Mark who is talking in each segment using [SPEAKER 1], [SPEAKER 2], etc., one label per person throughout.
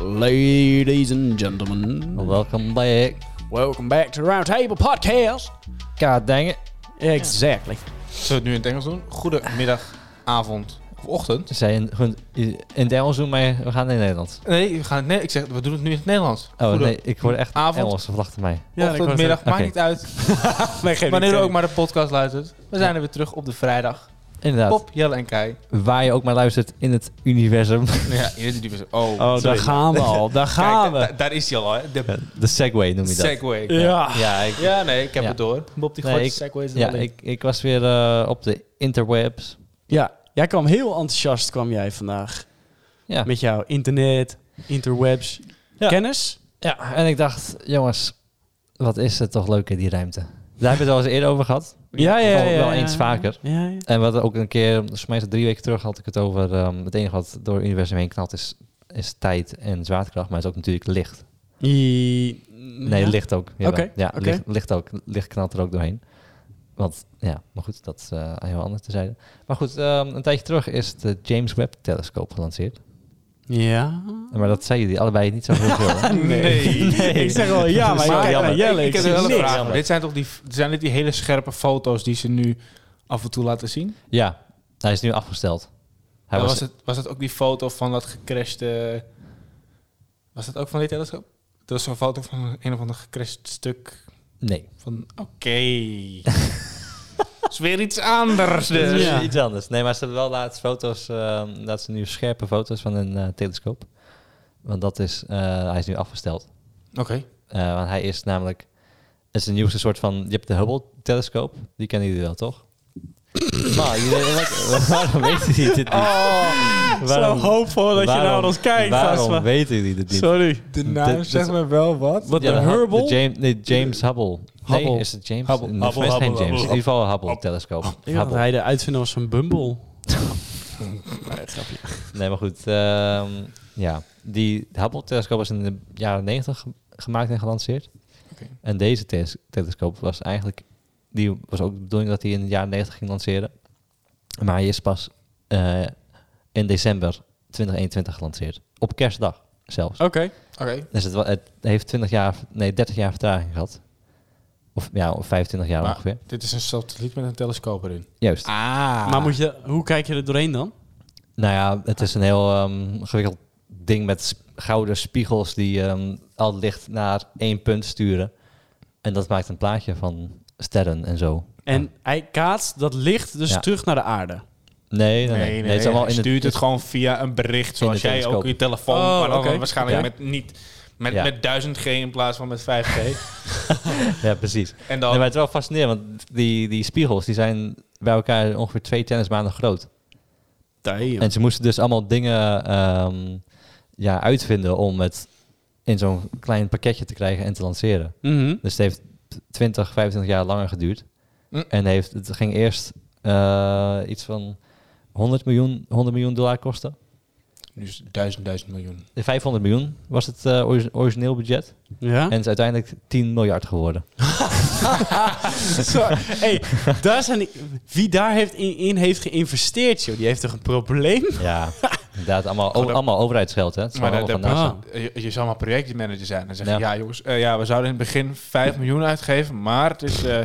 [SPEAKER 1] Ladies and gentlemen,
[SPEAKER 2] Welcome back.
[SPEAKER 1] welcome back to the Roundtable Podcast.
[SPEAKER 2] God dang it.
[SPEAKER 1] Exactly.
[SPEAKER 3] Zullen we het nu in het Engels doen? Goedemiddag, avond of ochtend.
[SPEAKER 2] Zij in, gewoon in het Engels doen, maar we gaan in Nederland.
[SPEAKER 3] Nee, we gaan, nee, ik zeg, we doen het nu in het Nederlands.
[SPEAKER 2] Oh
[SPEAKER 3] Goede-
[SPEAKER 2] nee, ik hoorde echt
[SPEAKER 3] avond.
[SPEAKER 2] Engels, dat lachte mij.
[SPEAKER 1] Ja, ik
[SPEAKER 3] ochtend,
[SPEAKER 1] wou
[SPEAKER 3] middag,
[SPEAKER 2] zeggen.
[SPEAKER 3] maakt
[SPEAKER 2] Oké.
[SPEAKER 3] niet uit. Wanneer u ook maar de podcast luistert. We zijn er weer terug op de vrijdag.
[SPEAKER 2] Inderdaad,
[SPEAKER 3] Pop, Jelle en Kai.
[SPEAKER 2] waar je ook maar luistert in het universum.
[SPEAKER 3] Ja, in het universum. Oh,
[SPEAKER 1] Oh, daar
[SPEAKER 3] sorry.
[SPEAKER 1] gaan we al. Daar
[SPEAKER 3] Kijk,
[SPEAKER 1] gaan
[SPEAKER 3] da-
[SPEAKER 1] we.
[SPEAKER 3] daar is hij al, hè? De
[SPEAKER 2] De Segway noem je dat.
[SPEAKER 3] segway.
[SPEAKER 1] Ja.
[SPEAKER 2] ja, ik,
[SPEAKER 3] Ja, nee, ik heb
[SPEAKER 2] Ja.
[SPEAKER 3] het door. Bob die
[SPEAKER 2] Nee,
[SPEAKER 3] gooit
[SPEAKER 2] ik-
[SPEAKER 3] de segways er
[SPEAKER 2] ja,
[SPEAKER 3] wel in.
[SPEAKER 2] ik, ik was weer eh, op de interwebs.
[SPEAKER 1] Ja, jij kwam heel enthousiast kwam jij vandaag.
[SPEAKER 2] Ja.
[SPEAKER 1] Met jouw internet, interwebs,
[SPEAKER 2] Ja.
[SPEAKER 1] kennis.
[SPEAKER 2] ja, en ik dacht, jongens, wat is het toch leuk in die ruimte. Daar hebben we het wel eens eerder over gehad. Wel- wel eens vaker.
[SPEAKER 1] Ja, ja.
[SPEAKER 2] En wat ook een keer, volgens mij is het drie weken terug, had ik het over. ehm, het enige wat door het universum heen knalt is, is tijd en zwaartekracht, maar het is ook natuurlijk licht.
[SPEAKER 1] I-
[SPEAKER 2] Nee,
[SPEAKER 1] ja.
[SPEAKER 2] licht ook. Jawel.
[SPEAKER 1] Oké,
[SPEAKER 2] Ja,
[SPEAKER 1] oké.
[SPEAKER 2] Licht, licht ook. Licht knalt er ook doorheen. Want ja, maar goed, dat is eh, heel anders te zeiden. Maar goed, ehm, een tijdje terug is de James Webb telescoop gelanceerd.
[SPEAKER 1] Ja.
[SPEAKER 2] Maar dat zeiden jullie allebei niet zo heel veel. hè?
[SPEAKER 1] Nee. Ik zeg wel ja, maar ik
[SPEAKER 2] Maar
[SPEAKER 1] kijk
[SPEAKER 2] jammer.
[SPEAKER 1] naar Jelle.
[SPEAKER 3] nou, Ik heb
[SPEAKER 1] zie
[SPEAKER 3] wel een
[SPEAKER 1] niks.
[SPEAKER 3] vraag. Dit zijn toch die, zijn dit die hele scherpe foto's die ze nu af en toe laten zien?
[SPEAKER 2] Ja, hij is nu afgesteld. Hij
[SPEAKER 3] Maar
[SPEAKER 2] was,
[SPEAKER 3] was, het, was het ook die foto van dat gecrashte... Was dat ook van dit telescoop? Dat was zo'n foto van een of ander gecrashed stuk
[SPEAKER 2] Nee,
[SPEAKER 3] van... Oké. is weer iets anders
[SPEAKER 2] dat
[SPEAKER 3] dus.
[SPEAKER 2] is
[SPEAKER 1] Ja.
[SPEAKER 2] iets anders. Nee, maar ze hebben wel laatst foto's, ehm laat ze nu scherpe foto's van een eh, telescoop. Want dat is, eh, hij is nu afgesteld.
[SPEAKER 3] Oké.
[SPEAKER 2] Eh, want hij is namelijk... Het is een nieuwste soort van... Je hebt de Hubble-telescoop. Die kennen jullie wel, toch? maar jullie- wat- waarom weten jullie dit niet?
[SPEAKER 1] Zo hoopvol Oh, dat je nou
[SPEAKER 2] waarom-
[SPEAKER 1] naar ons kijkt. gast,
[SPEAKER 2] Waarom
[SPEAKER 1] maar-
[SPEAKER 2] weten jullie dit niet?
[SPEAKER 1] Sorry.
[SPEAKER 3] De
[SPEAKER 2] naam Dit- dit- zegt
[SPEAKER 3] me wel wat.
[SPEAKER 1] Wat
[SPEAKER 2] Ja,
[SPEAKER 1] de
[SPEAKER 2] Hub-
[SPEAKER 1] Hubble?
[SPEAKER 2] de James, nee, James Hubble.
[SPEAKER 1] Hubble.
[SPEAKER 2] Nee, is het James?
[SPEAKER 3] Hubble.
[SPEAKER 2] Nee, volgens mij is het geen James. In ieder geval Hubble-telescoop.
[SPEAKER 1] Ik dacht dat hij de uitvinder was van Bumble. nee, grapje.
[SPEAKER 2] Nee, maar goed. ehm, ja, die Hubble-telescoop was in de jaren 90 ge- gemaakt en gelanceerd.
[SPEAKER 3] Oké.
[SPEAKER 2] En deze tes- telescoop was eigenlijk... Die was ook de bedoeling dat hij in de jaren 90 ging lanceren. Maar hij is pas eh, in december 2021 gelanceerd. Op kerstdag zelfs.
[SPEAKER 1] Oké.
[SPEAKER 3] Oké.
[SPEAKER 2] Dus het, wa- het heeft 20 jaar, nee, 30 jaar vertraging gehad. Of ja, of 25 jaar
[SPEAKER 3] Maar-
[SPEAKER 2] ongeveer.
[SPEAKER 3] Dit is een satelliet met een telescoop erin.
[SPEAKER 2] Juist.
[SPEAKER 3] Ah.
[SPEAKER 1] Maar moet je, hoe kijk je er doorheen dan?
[SPEAKER 2] Nou ja, het is een heel ehm, gewikkeld ding met sp- gouden spiegels die ehm, al het licht naar één punt sturen. En dat maakt een plaatje van sterren en zo.
[SPEAKER 1] En hij kaatst dat licht dus
[SPEAKER 2] Ja.
[SPEAKER 1] terug naar de aarde.
[SPEAKER 2] Nee, nee, nee.
[SPEAKER 3] Nee, nee, nee,
[SPEAKER 2] het is allemaal
[SPEAKER 3] hij
[SPEAKER 2] in
[SPEAKER 3] stuurt het gewoon via een bericht, zoals
[SPEAKER 2] het
[SPEAKER 3] jij
[SPEAKER 2] telescoop.
[SPEAKER 3] ook je telefoon,
[SPEAKER 1] Oh,
[SPEAKER 3] maar dan
[SPEAKER 1] oké.
[SPEAKER 3] waarschijnlijk
[SPEAKER 2] Ja.
[SPEAKER 3] met niet met,
[SPEAKER 2] Ja.
[SPEAKER 3] met 1000G in plaats van met 5G.
[SPEAKER 2] Ja, precies. Nee,
[SPEAKER 3] en dan
[SPEAKER 2] maar het is wel fascinerend, want die, die spiegels die zijn bij elkaar ongeveer twee tennisbanen groot.
[SPEAKER 1] Damn.
[SPEAKER 2] En ze moesten dus allemaal dingen ehm, ja, uitvinden om het in zo'n klein pakketje te krijgen en te lanceren.
[SPEAKER 1] Mhm.
[SPEAKER 2] Dus het heeft 20, 25 jaar langer geduurd.
[SPEAKER 3] Hm.
[SPEAKER 2] En heeft, het ging eerst eh, iets van 100 miljoen, 100 miljoen dollar kosten.
[SPEAKER 3] nu is het duizend, duizend miljoen.
[SPEAKER 2] 500 miljoen was het eh, ori- origineel budget.
[SPEAKER 1] Ja?
[SPEAKER 2] En het is uiteindelijk 10 miljard geworden.
[SPEAKER 1] Zo, hey, daar zijn die- wie daar heeft in, in heeft geïnvesteerd, joh, die heeft toch een probleem?
[SPEAKER 2] Ja, inderdaad. Allemaal,
[SPEAKER 3] Maar dat-
[SPEAKER 2] allemaal overheidsgeld, hè? Het is
[SPEAKER 3] Maar
[SPEAKER 2] allemaal
[SPEAKER 3] dat-
[SPEAKER 2] van
[SPEAKER 3] dat-
[SPEAKER 2] NASA.
[SPEAKER 1] Ah.
[SPEAKER 3] Je, je zou maar projectmanager zijn en zeggen, ja,
[SPEAKER 2] Ja.
[SPEAKER 3] jongens, eh, ja, we zouden in het begin 5 miljoen uitgeven, maar het is eh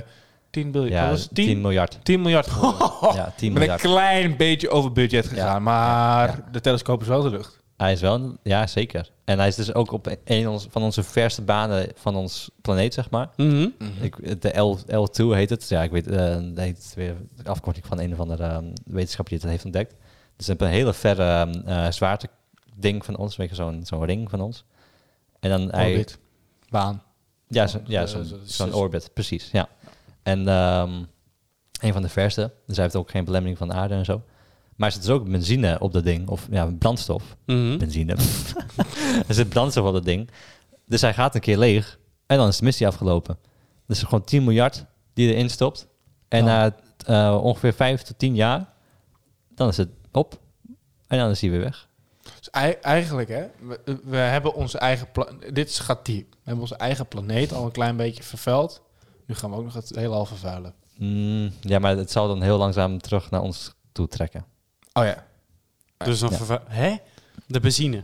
[SPEAKER 3] 10 biljoen.
[SPEAKER 2] Ja,
[SPEAKER 3] dat is
[SPEAKER 2] 10
[SPEAKER 3] 10,
[SPEAKER 2] miljard.
[SPEAKER 3] 10 miljard geworden.
[SPEAKER 2] Ja, 10
[SPEAKER 3] Met een
[SPEAKER 2] miljard.
[SPEAKER 3] klein beetje over budget gegaan, maar de telescoop is wel de lucht.
[SPEAKER 2] Hij is wel, ja, zeker. En hij is dus ook op een ons- van onze verste banen van ons planeet, zeg maar.
[SPEAKER 1] Mhm.
[SPEAKER 2] Ik, de L, L2 heet het. Ja, ik weet eh, dat heet weer de afkorting van een of andere ehm, wetenschapper die het heeft ontdekt. Dus een hele verre ehm, eh, zwaarteding van ons, weet je, zo'n zo'n ring van ons. En dan hij,
[SPEAKER 3] Orbit. Baan.
[SPEAKER 2] ja, zo, ja,
[SPEAKER 3] Eh,
[SPEAKER 2] zo'n
[SPEAKER 3] zo-
[SPEAKER 2] zo'n
[SPEAKER 3] zo-
[SPEAKER 2] orbit, precies. Ja. En ehm, een van de verste. Dus hij heeft ook geen belemmering van de aarde en zo. Maar er zit dus ook benzine op dat ding, of ja, brandstof.
[SPEAKER 3] Hm?
[SPEAKER 1] Mhm.
[SPEAKER 2] Benzine. er zit brandstof op dat ding. Dus hij gaat een keer leeg en dan is de missie afgelopen. Dus gewoon 10 miljard die je erin stopt. En
[SPEAKER 3] Ja.
[SPEAKER 2] na eh, ongeveer 5 tot 10 jaar, dan is het op. En dan is hij weer weg.
[SPEAKER 3] Dus ei- eigenlijk, hè, we, we hebben onze eigen... pla- Dit is- gaat diep. We hebben onze eigen planeet al een klein beetje vervuild. Nu gaan we ook nog het hele halve vervuilen.
[SPEAKER 2] Mm, ja, maar het zal dan heel langzaam terug naar ons toe trekken.
[SPEAKER 3] Oh ja.
[SPEAKER 1] Dus dan
[SPEAKER 2] Ja.
[SPEAKER 1] verva- hè? De benzine.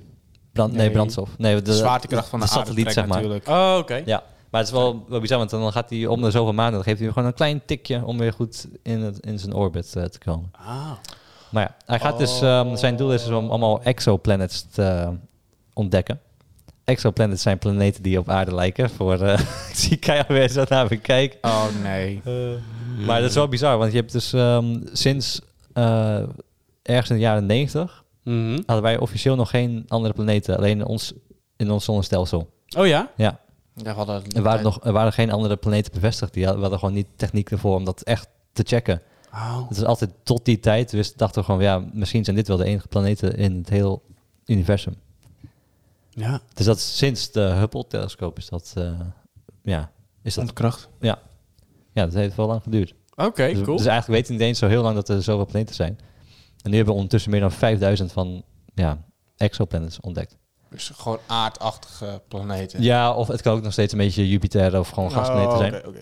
[SPEAKER 2] Brand, nee.
[SPEAKER 3] Nee.
[SPEAKER 2] brandstof. Nee, de,
[SPEAKER 3] De zwaartekracht van de,
[SPEAKER 2] de
[SPEAKER 3] aarde
[SPEAKER 2] satelliet, zeg maar.
[SPEAKER 3] natuurlijk.
[SPEAKER 1] Oh, oké.
[SPEAKER 2] Ja, maar het is wel, wel bizar, want dan gaat hij om de zoveel maanden, dan geeft hij hem gewoon een klein tikje om weer goed in, het, in zijn orbit eh, te komen.
[SPEAKER 1] Ah.
[SPEAKER 2] Maar ja, hij gaat dus, ehm, zijn doel is dus om allemaal exoplanets te eh, ontdekken. Exoplanets zijn planeten die op aarde lijken. Voor, eh ik zie keihard weer zo naar me kijken.
[SPEAKER 3] Oh nee.
[SPEAKER 2] Maar dat is wel bizar, want je hebt dus ehm, sinds eh, ergens in de jaren 90
[SPEAKER 1] Mhm.
[SPEAKER 2] hadden wij officieel nog geen andere planeten, alleen ons, in ons zonnestelsel.
[SPEAKER 1] Oh ja?
[SPEAKER 2] Ja,
[SPEAKER 3] Ja, we hadden
[SPEAKER 2] er waren, nog, er waren geen andere planeten bevestigd. Die hadden, we hadden gewoon niet techniek ervoor om dat echt te checken.
[SPEAKER 1] Oh.
[SPEAKER 2] Het is altijd tot die tijd, dus dachten we gewoon, ja, misschien zijn dit wel de enige planeten in het hele universum.
[SPEAKER 1] Ja.
[SPEAKER 2] Dus dat is sinds de Hubble-telescoop is dat, eh, ja, is dat,
[SPEAKER 3] ontkracht.
[SPEAKER 2] ja, dat heeft wel lang geduurd.
[SPEAKER 1] Oké,
[SPEAKER 2] dus,
[SPEAKER 1] cool.
[SPEAKER 2] dus eigenlijk weten we niet eens zo heel lang dat er zoveel planeten zijn. En nu hebben we ondertussen meer dan 5000 van, ja, exoplanets ontdekt.
[SPEAKER 3] Dus gewoon aardachtige planeten.
[SPEAKER 2] Ja, of het kan ook nog steeds een beetje Jupiter of
[SPEAKER 3] Nou,
[SPEAKER 2] gewoon gasplaneten
[SPEAKER 1] Oh,
[SPEAKER 2] zijn.
[SPEAKER 3] Oké, oké.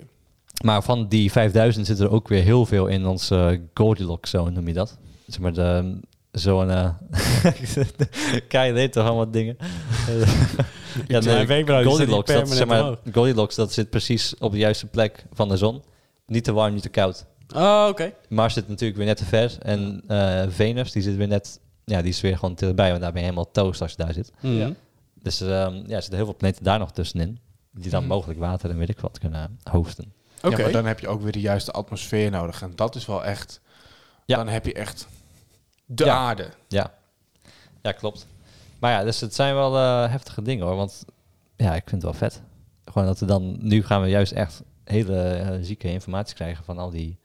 [SPEAKER 2] Maar van die 5000 zitten er ook weer heel veel in onze Goldilocks-zone, noem je dat? Zeg maar de zo'n... eh Kai weet toch allemaal dingen? ja,
[SPEAKER 1] zei,
[SPEAKER 2] nee,
[SPEAKER 1] wenkbrauw, die
[SPEAKER 2] Goldilocks,
[SPEAKER 1] staat
[SPEAKER 2] dat,
[SPEAKER 1] niet
[SPEAKER 2] zeg maar,
[SPEAKER 1] permanent
[SPEAKER 2] Goldilocks, dat zit precies op de juiste plek van de zon. Niet te warm, niet te koud.
[SPEAKER 1] Oh, oké.
[SPEAKER 2] Mars zit natuurlijk weer net te ver. En eh, Venus, die zit weer net... Ja, die is weer gewoon te erbij, want daar ben je helemaal toast als je daar zit.
[SPEAKER 1] Mhm.
[SPEAKER 3] Ja.
[SPEAKER 2] Dus ehm, ja, er zitten heel veel planeten daar nog tussenin. Die dan
[SPEAKER 3] Mhm.
[SPEAKER 2] mogelijk water en weet ik wat kunnen hosten.
[SPEAKER 1] Oké.
[SPEAKER 3] Ja, maar dan heb je ook weer de juiste atmosfeer nodig. En dat is wel echt...
[SPEAKER 2] Ja.
[SPEAKER 3] Dan heb je echt de
[SPEAKER 2] Ja.
[SPEAKER 3] aarde.
[SPEAKER 2] Ja. ja, klopt. Maar ja, dus het zijn wel eh, heftige dingen hoor. Want ja, ik vind het wel vet. Gewoon dat we dan, nu gaan we juist echt hele eh, zieke informatie krijgen van al die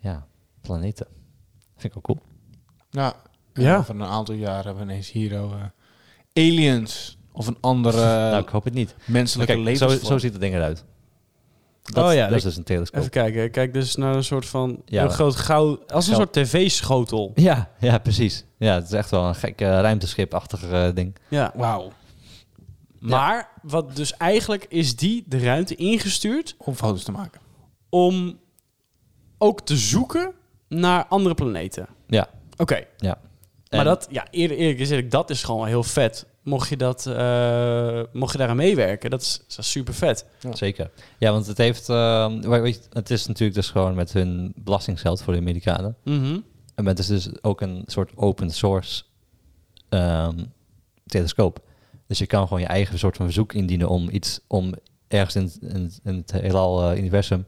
[SPEAKER 2] ja, planeten. Vind ik wel cool.
[SPEAKER 3] Ja. En
[SPEAKER 1] Ja.
[SPEAKER 3] Over een aantal jaren hebben we ineens hier oh, eh, aliens of een andere
[SPEAKER 1] Eh,
[SPEAKER 2] nou, ik hoop het niet. Maar
[SPEAKER 3] menselijke
[SPEAKER 2] Kijk, zo,
[SPEAKER 3] levensvorm.
[SPEAKER 2] zo ziet het ding eruit. Dat,
[SPEAKER 1] Oh ja,
[SPEAKER 2] dat is
[SPEAKER 1] ik-
[SPEAKER 2] dus een telescoop.
[SPEAKER 1] Even kijken. hè. Kijk, dus naar een soort van
[SPEAKER 2] Ja,
[SPEAKER 1] een
[SPEAKER 2] maar-
[SPEAKER 1] groot goud... Als een
[SPEAKER 2] Goud.
[SPEAKER 1] soort tv-schotel.
[SPEAKER 2] Ja, ja, precies. Ja, het is echt wel een gek eh, ruimteschipachtig eh, ding.
[SPEAKER 1] Ja.
[SPEAKER 3] Wauw.
[SPEAKER 1] Maar wat dus eigenlijk is die de ruimte ingestuurd
[SPEAKER 3] Om foto's te maken.
[SPEAKER 1] om ook te zoeken naar andere planeten.
[SPEAKER 2] Ja.
[SPEAKER 1] Oké.
[SPEAKER 2] Ja.
[SPEAKER 1] Maar
[SPEAKER 2] En-
[SPEAKER 1] dat, ja, eerlijk, eerlijk gezegd, dat is gewoon heel vet. Mocht je, dat, eh, mocht je daaraan meewerken, dat is, dat is super vet.
[SPEAKER 2] Zeker. Ja, want het heeft. ehm, wa- weet je, het is natuurlijk dus gewoon met hun belastinggeld voor de Amerikanen.
[SPEAKER 1] Mhm.
[SPEAKER 2] En het is dus ook een soort open source ehm, telescoop. Dus je kan gewoon je eigen soort van verzoek indienen om iets om ergens in, het- in, het- in het heelal eh, universum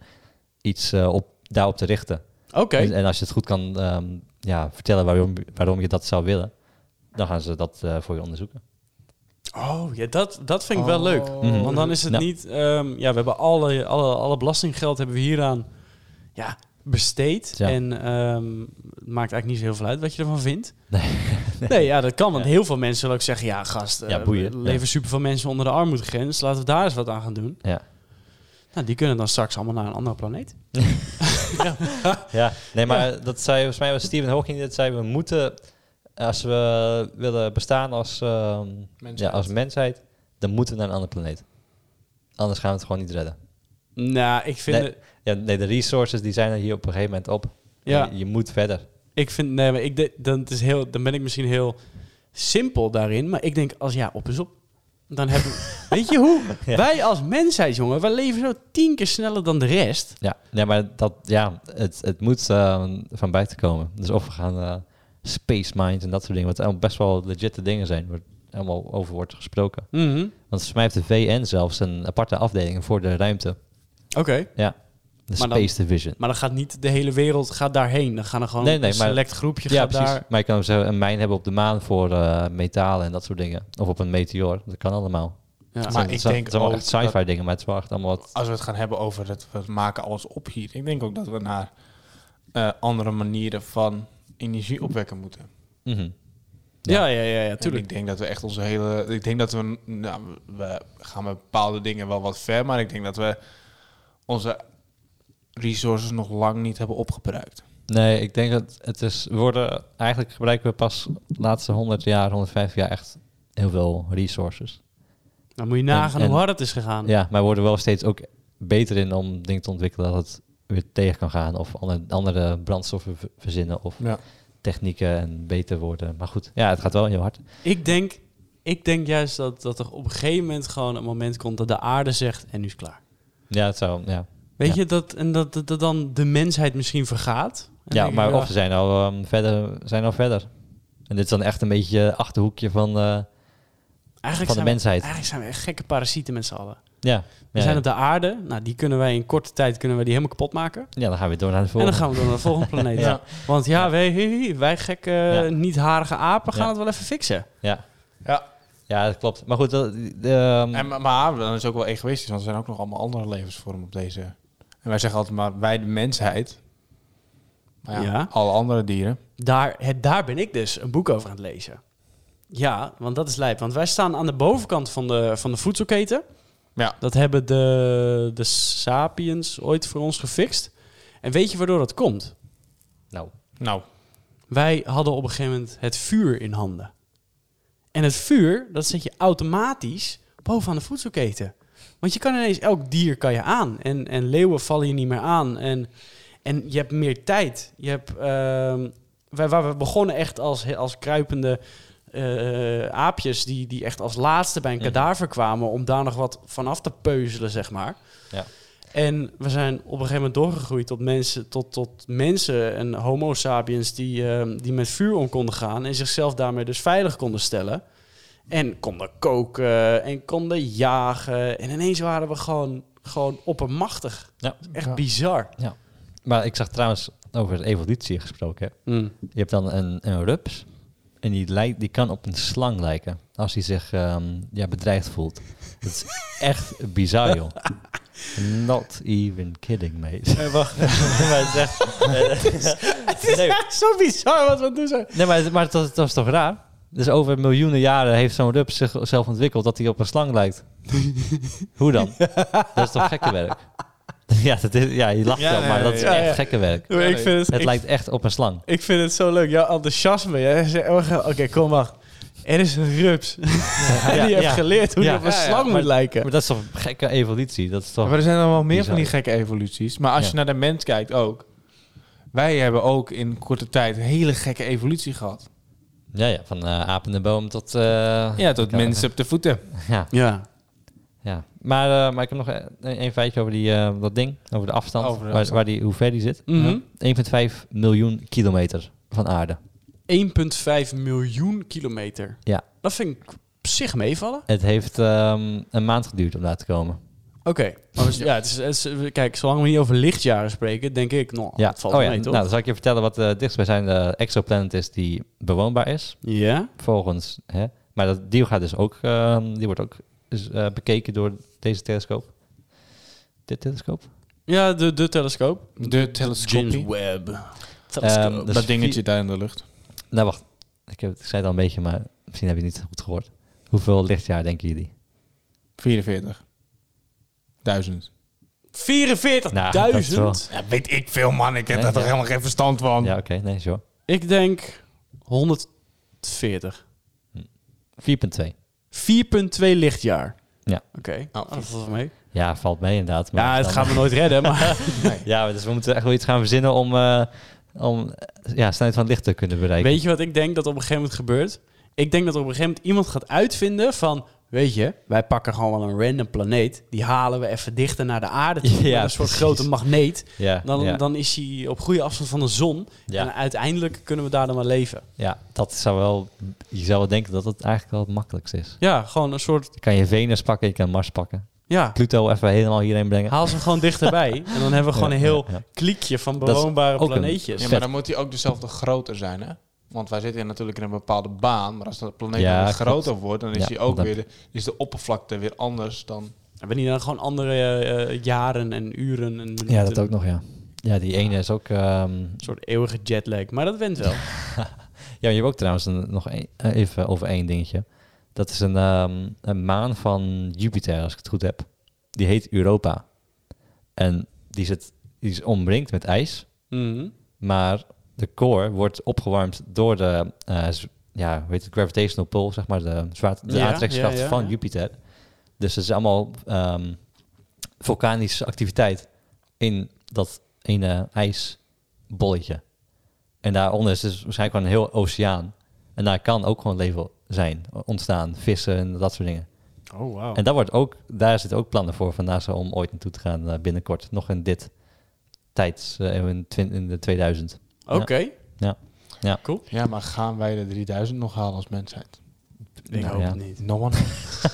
[SPEAKER 2] iets eh, op, daarop te richten.
[SPEAKER 1] Oké.
[SPEAKER 2] En, en als je het goed kan ehm, ja, vertellen waarom, waarom je dat zou willen, dan gaan ze dat eh, voor je onderzoeken.
[SPEAKER 1] Oh, ja, dat, dat vind ik
[SPEAKER 3] Oh.
[SPEAKER 1] wel leuk.
[SPEAKER 2] Mhm.
[SPEAKER 1] Want dan is het
[SPEAKER 2] Ja.
[SPEAKER 1] niet... ehm, ja, we hebben alle, alle, alle belastinggeld hebben we hieraan ja, besteed.
[SPEAKER 2] Ja.
[SPEAKER 1] En ehm, het maakt eigenlijk niet zo heel veel uit wat je ervan vindt.
[SPEAKER 2] Nee.
[SPEAKER 1] Nee, ja, dat kan. Want
[SPEAKER 2] Ja.
[SPEAKER 1] heel veel mensen zullen ook zeggen... Ja, gast, eh,
[SPEAKER 2] Ja, boeien.
[SPEAKER 1] we leven super veel mensen onder de armoedegrens. Laten we daar eens wat aan gaan doen.
[SPEAKER 2] Ja.
[SPEAKER 1] Nou, die kunnen dan straks allemaal naar een andere planeet.
[SPEAKER 2] Ja, nee, maar dat zei volgens mij was Stephen Hawking dat zei we moeten als we willen bestaan als, ehm, ja,
[SPEAKER 3] Mensheid.
[SPEAKER 2] als mensheid, dan moeten we naar een andere planeet. Anders gaan we het gewoon niet redden.
[SPEAKER 1] Nou, ik vind...
[SPEAKER 2] Nee.
[SPEAKER 1] het-
[SPEAKER 2] Ja, nee, de resources die zijn er hier op een gegeven moment op.
[SPEAKER 1] Ja.
[SPEAKER 2] Je, je moet verder.
[SPEAKER 1] Ik vind, nee, maar ik denk, dan, het is heel, dan ben ik misschien heel simpel daarin. Maar ik denk, als ja, op is op. Dan hebben we- Weet je hoe?
[SPEAKER 2] Ja.
[SPEAKER 1] Wij als mensheid, jongen, wij leven zo tien keer sneller dan de rest.
[SPEAKER 2] Ja, nee, maar dat, ja, het, het moet ehm, van buiten komen. Dus of we gaan eh, space mines en dat soort dingen, wat allemaal best wel legitte dingen zijn, waar helemaal over wordt gesproken. Want volgens mij heeft de VN zelfs een aparte afdeling voor de ruimte.
[SPEAKER 1] Oké.
[SPEAKER 2] Ja, de
[SPEAKER 1] Maar dan-
[SPEAKER 2] Space Division.
[SPEAKER 1] Maar dan gaat niet de hele wereld gaat daarheen. Dan gaan er gewoon
[SPEAKER 2] Nee, nee,
[SPEAKER 1] een
[SPEAKER 2] maar-
[SPEAKER 1] select groepje
[SPEAKER 2] ja,
[SPEAKER 1] gaat
[SPEAKER 2] precies.
[SPEAKER 1] daar.
[SPEAKER 2] Maar je kan ook zo een mijn hebben op de maan voor eh, metalen en dat soort dingen. Of op een meteor. Dat kan allemaal.
[SPEAKER 1] Ja.
[SPEAKER 3] Maar
[SPEAKER 2] Het
[SPEAKER 3] ik
[SPEAKER 2] zijn-
[SPEAKER 3] denk
[SPEAKER 2] het zijn wel
[SPEAKER 3] ook
[SPEAKER 2] echt sci-fi dingen, maar het is wel echt allemaal wat...
[SPEAKER 3] Als we het gaan hebben over het we maken alles op hier. Ik denk ook dat we naar eh, andere manieren van energie opwekken moeten.
[SPEAKER 2] Mhm.
[SPEAKER 1] ja, ja, ja, ja,
[SPEAKER 3] En
[SPEAKER 1] tuurlijk.
[SPEAKER 3] ik denk dat we echt onze hele. Ik denk dat we. Nou, we gaan met bepaalde dingen wel wat ver, maar ik denk dat we onze resources nog lang niet hebben opgebruikt.
[SPEAKER 2] Nee, ik denk dat het is... we Worden, eigenlijk gebruiken we pas de laatste 100 jaar, 150 jaar echt heel veel resources.
[SPEAKER 1] Dan moet je nagaan
[SPEAKER 2] En-
[SPEAKER 1] hoe hard het is gegaan.
[SPEAKER 2] Ja, maar we worden wel steeds ook beter in om dingen te ontwikkelen dat het weer tegen kan gaan. Of andere, andere brandstoffen ver- verzinnen of
[SPEAKER 3] Ja.
[SPEAKER 2] technieken en beter worden. Maar goed, ja, het gaat wel heel hard.
[SPEAKER 1] Ik denk, ik denk juist dat, dat er op een gegeven moment gewoon een moment komt dat de aarde zegt en nu is het klaar.
[SPEAKER 2] Ja, het zou, ja.
[SPEAKER 1] Weet
[SPEAKER 2] Ja.
[SPEAKER 1] je, dat, en dat, dat, dat dan de mensheid misschien vergaat. En
[SPEAKER 2] ja
[SPEAKER 1] denk
[SPEAKER 2] maar
[SPEAKER 1] ik,
[SPEAKER 2] of ze zijn al, ehm, verder, zijn al verder. En dit is dan echt een beetje achterhoekje van, eh,
[SPEAKER 1] eigenlijk
[SPEAKER 2] van de
[SPEAKER 1] zijn we-
[SPEAKER 2] mensheid.
[SPEAKER 1] Eigenlijk zijn we echt gekke parasieten met z'n allen.
[SPEAKER 2] ja.
[SPEAKER 1] We
[SPEAKER 2] Ja,
[SPEAKER 1] zijn
[SPEAKER 2] ja.
[SPEAKER 1] op de aarde. Nou, die kunnen wij in korte tijd kunnen wij die helemaal kapot maken.
[SPEAKER 2] ja, dan gaan we door naar de
[SPEAKER 1] En
[SPEAKER 2] volgende.
[SPEAKER 1] dan gaan we door naar de volgende planeet.
[SPEAKER 2] Ja.
[SPEAKER 1] Want ja, wij, wij gekke,
[SPEAKER 2] Ja.
[SPEAKER 1] niet-harige apen gaan
[SPEAKER 2] Ja.
[SPEAKER 1] het wel even fixen.
[SPEAKER 2] Ja.
[SPEAKER 3] Ja.
[SPEAKER 2] ja, dat klopt. Maar goed, dat, ehm,
[SPEAKER 3] En, maar- maar dan is het ook wel egoïstisch, want er zijn ook nog allemaal andere levensvormen op deze. En wij zeggen altijd maar wij de mensheid. Maar ja,
[SPEAKER 1] Ja.
[SPEAKER 3] alle andere dieren.
[SPEAKER 1] Daar, het, daar ben ik dus een boek over aan het lezen. Ja, want dat is lijp. Want wij staan aan de bovenkant van de, van de voedselketen.
[SPEAKER 3] Ja.
[SPEAKER 1] Dat hebben de, de sapiens ooit voor ons gefixt. En weet je waardoor dat komt?
[SPEAKER 2] nou,
[SPEAKER 3] Nou,
[SPEAKER 1] Wij hadden op een gegeven moment het vuur in handen. En het vuur, dat zet je automatisch bovenaan de voedselketen. Want je kan ineens elk dier kan je aan. En, en leeuwen vallen je niet meer aan. En, en je hebt meer tijd. Je hebt, ehm, wij, waar we begonnen echt als, als kruipende eh, aapjes... Die, die echt als laatste bij een
[SPEAKER 2] Mhm.
[SPEAKER 1] kadaver kwamen... om daar nog wat vanaf te peuzelen, zeg maar.
[SPEAKER 2] Ja.
[SPEAKER 1] En we zijn op een gegeven moment doorgegroeid tot mensen, tot, tot mensen en homo sapiens... Die, ehm, die met vuur om konden gaan en zichzelf daarmee dus veilig konden stellen... En konden koken en konden jagen. En ineens waren we gewoon, gewoon oppermachtig.
[SPEAKER 2] Ja.
[SPEAKER 1] Echt
[SPEAKER 3] Ja.
[SPEAKER 1] bizar.
[SPEAKER 2] maar ik zag trouwens over evolutie gesproken. hè. Je hebt dan een, een rups. En die, lijkt, die kan op een slang lijken. Als hij zich ehm, ja, bedreigd voelt. Dat is echt bizar, joh. Not even kidding, mate.
[SPEAKER 1] wacht.
[SPEAKER 2] Eh, maar het is echt-
[SPEAKER 1] Het is
[SPEAKER 2] Nee.
[SPEAKER 1] echt zo bizar wat we doen zijn.
[SPEAKER 2] nee, maar, maar dat, dat is toch raar? Dus over miljoenen jaren heeft zo'n rups zichzelf ontwikkeld dat hij op een slang lijkt. Hoe dan? Dat is toch gekke werk? Ja, dat is, ja je lacht
[SPEAKER 3] Ja,
[SPEAKER 2] wel,
[SPEAKER 3] nee,
[SPEAKER 2] maar dat is
[SPEAKER 1] ja,
[SPEAKER 2] echt
[SPEAKER 1] ja.
[SPEAKER 2] gekke werk.
[SPEAKER 1] ik, vind het,
[SPEAKER 2] Het
[SPEAKER 1] ik,
[SPEAKER 2] lijkt echt op een slang.
[SPEAKER 1] ik vind het zo leuk. Jouw enthousiasme. Jij zegt, oh, ge- Oké, kom wacht. Er is een rups. en die
[SPEAKER 2] ja,
[SPEAKER 1] heeft
[SPEAKER 2] ja.
[SPEAKER 1] geleerd hoe je
[SPEAKER 2] Ja.
[SPEAKER 1] op een
[SPEAKER 3] Ja, ja,
[SPEAKER 1] slang
[SPEAKER 2] maar-
[SPEAKER 1] moet lijken.
[SPEAKER 2] Maar dat is toch een gekke evolutie? Dat is toch...
[SPEAKER 3] maar er zijn dan wel meer
[SPEAKER 2] Bizar.
[SPEAKER 3] van die gekke evoluties. Maar als
[SPEAKER 2] Ja.
[SPEAKER 3] je naar de mens kijkt ook. Wij hebben ook in korte tijd een hele gekke evolutie gehad.
[SPEAKER 2] Ja, ja, van eh apende boom tot... eh,
[SPEAKER 3] Ja, tot mensen op de voeten.
[SPEAKER 2] Ja,
[SPEAKER 1] Ja.
[SPEAKER 2] ja. Maar, eh, maar ik heb nog een, een feitje over die, eh, dat ding, over de afstand,
[SPEAKER 3] Over de
[SPEAKER 2] waar,
[SPEAKER 3] afstand.
[SPEAKER 2] waar die, hoe ver die zit.
[SPEAKER 1] Mhm.
[SPEAKER 2] 1,5 miljoen kilometer van aarde.
[SPEAKER 1] 1,5 miljoen kilometer.
[SPEAKER 2] Ja.
[SPEAKER 1] Dat vind ik op zich meevallen.
[SPEAKER 2] Het heeft ehm, een maand geduurd om daar te komen.
[SPEAKER 1] Oké. Maar we- Ja, het is, het is- kijk, zolang we niet over lichtjaren spreken, denk ik, nou,
[SPEAKER 2] ja.
[SPEAKER 1] het valt
[SPEAKER 2] oh
[SPEAKER 1] wel
[SPEAKER 2] ja,
[SPEAKER 1] mee, toch?
[SPEAKER 2] nou, dan zal ik je vertellen wat de dichtstbijzijnde exoplanet is die bewoonbaar is.
[SPEAKER 1] ja.
[SPEAKER 2] Volgens, hè. Maar dat, die gaat dus ook, ehm, die wordt ook dus, eh, bekeken door deze telescoop. Dit telescoop?
[SPEAKER 1] Ja, de, de telescoop.
[SPEAKER 3] De
[SPEAKER 1] James
[SPEAKER 3] telescopie.
[SPEAKER 1] Webb.
[SPEAKER 2] Telescoop.
[SPEAKER 1] Ehm,
[SPEAKER 2] dat
[SPEAKER 3] dat
[SPEAKER 2] is
[SPEAKER 3] dingetje
[SPEAKER 2] vier-
[SPEAKER 3] daar in de lucht.
[SPEAKER 2] dus Nou, wacht. Ik, heb, ik zei het al een beetje, maar misschien heb je het niet goed gehoord. Hoeveel lichtjaar denken jullie?
[SPEAKER 3] 44. Duizend.
[SPEAKER 1] 44.000.
[SPEAKER 2] Nou, dat is wel-
[SPEAKER 3] Ja, weet ik veel, man. Ik heb
[SPEAKER 2] Nee,
[SPEAKER 3] daar
[SPEAKER 2] ja.
[SPEAKER 3] toch helemaal geen verstand van.
[SPEAKER 2] Ja, oké. nee, zo.
[SPEAKER 1] ik denk 140.
[SPEAKER 2] 4,2.
[SPEAKER 1] 4,2 lichtjaar.
[SPEAKER 2] Ja.
[SPEAKER 1] Oké, oh, dat valt wel mee.
[SPEAKER 2] Ja, valt mee inderdaad. maar
[SPEAKER 1] ja, het
[SPEAKER 2] dan-
[SPEAKER 1] gaat me nooit redden, maar...
[SPEAKER 2] Ja, maar dus we moeten echt wel iets gaan verzinnen om, eh, om eh, ja, snelheid van het licht te kunnen bereiken.
[SPEAKER 1] weet je wat ik denk dat op een gegeven moment gebeurt? Ik denk dat op een gegeven moment iemand gaat uitvinden van... Weet je, wij pakken gewoon wel een random planeet. Die halen we even dichter naar de aarde toe.
[SPEAKER 2] Ja,
[SPEAKER 1] met een soort
[SPEAKER 2] precies.
[SPEAKER 1] grote magneet.
[SPEAKER 2] Ja,
[SPEAKER 1] Dan,
[SPEAKER 2] ja,
[SPEAKER 1] dan is hij op goede afstand van de zon.
[SPEAKER 2] Ja.
[SPEAKER 1] En uiteindelijk kunnen we daar dan maar leven.
[SPEAKER 2] ja, dat zou wel... Je zou wel denken dat het eigenlijk wel het makkelijkst is.
[SPEAKER 1] Ja, gewoon een soort...
[SPEAKER 2] Je kan je Venus pakken, je kan Mars pakken.
[SPEAKER 1] Ja,
[SPEAKER 2] Pluto even helemaal hierheen brengen.
[SPEAKER 1] haal ze gewoon dichterbij. En dan hebben we gewoon
[SPEAKER 2] Ja,
[SPEAKER 1] een heel
[SPEAKER 2] ja, ja.
[SPEAKER 1] kliekje van
[SPEAKER 2] is
[SPEAKER 1] bewoonbare
[SPEAKER 2] ook een-
[SPEAKER 1] planeetjes.
[SPEAKER 3] Ja, maar dan moet hij ook dezelfde grootte zijn, hè? Want wij zitten natuurlijk in een bepaalde baan, maar als de planeet
[SPEAKER 2] Ja,
[SPEAKER 3] dan weer
[SPEAKER 2] klopt.
[SPEAKER 3] groter wordt, dan is
[SPEAKER 2] Ja,
[SPEAKER 3] die ook
[SPEAKER 2] dat-
[SPEAKER 3] weer de, is de oppervlakte weer anders dan.
[SPEAKER 1] Hebben die dan gewoon andere eh, jaren en uren en minuten?
[SPEAKER 2] Ja, dat ook nog, ja. Ja, die ene is ook... ehm,
[SPEAKER 1] Een soort eeuwige jetlag. Maar dat wint wel.
[SPEAKER 2] Ja, je hebt ook trouwens een- nog een- eh, even over één dingetje. Dat is een, ehm, een maan van Jupiter, als ik het goed heb. Die heet Europa. En die, zit, die is omringd met ijs.
[SPEAKER 1] Mhm.
[SPEAKER 2] Maar de core wordt opgewarmd door de eh, z- ja, hoe heet het, gravitational pull, zeg maar, de, zwaarte, de
[SPEAKER 1] Ja,
[SPEAKER 2] aantrekkingskracht
[SPEAKER 1] ja, ja,
[SPEAKER 2] van
[SPEAKER 1] ja.
[SPEAKER 2] Jupiter. Dus het is allemaal ehm, vulkanische activiteit in dat ene ijsbolletje. En daaronder is dus waarschijnlijk gewoon een heel oceaan. En daar kan ook gewoon leven zijn ontstaan. Vissen en dat soort dingen.
[SPEAKER 1] Oh, wauw.
[SPEAKER 2] En daar, wordt ook, daar zitten ook plannen voor van NASA om ooit naartoe te gaan eh, binnenkort. Nog in dit tijds, eh, in, twin- in de 2000.
[SPEAKER 1] Oké.
[SPEAKER 2] Ja. Ja.
[SPEAKER 1] Cool.
[SPEAKER 3] Ja, maar gaan wij de 3000 nog halen als mensheid?
[SPEAKER 1] Ik
[SPEAKER 2] Nou,
[SPEAKER 1] hoop
[SPEAKER 2] ja.
[SPEAKER 1] het niet.
[SPEAKER 3] No one,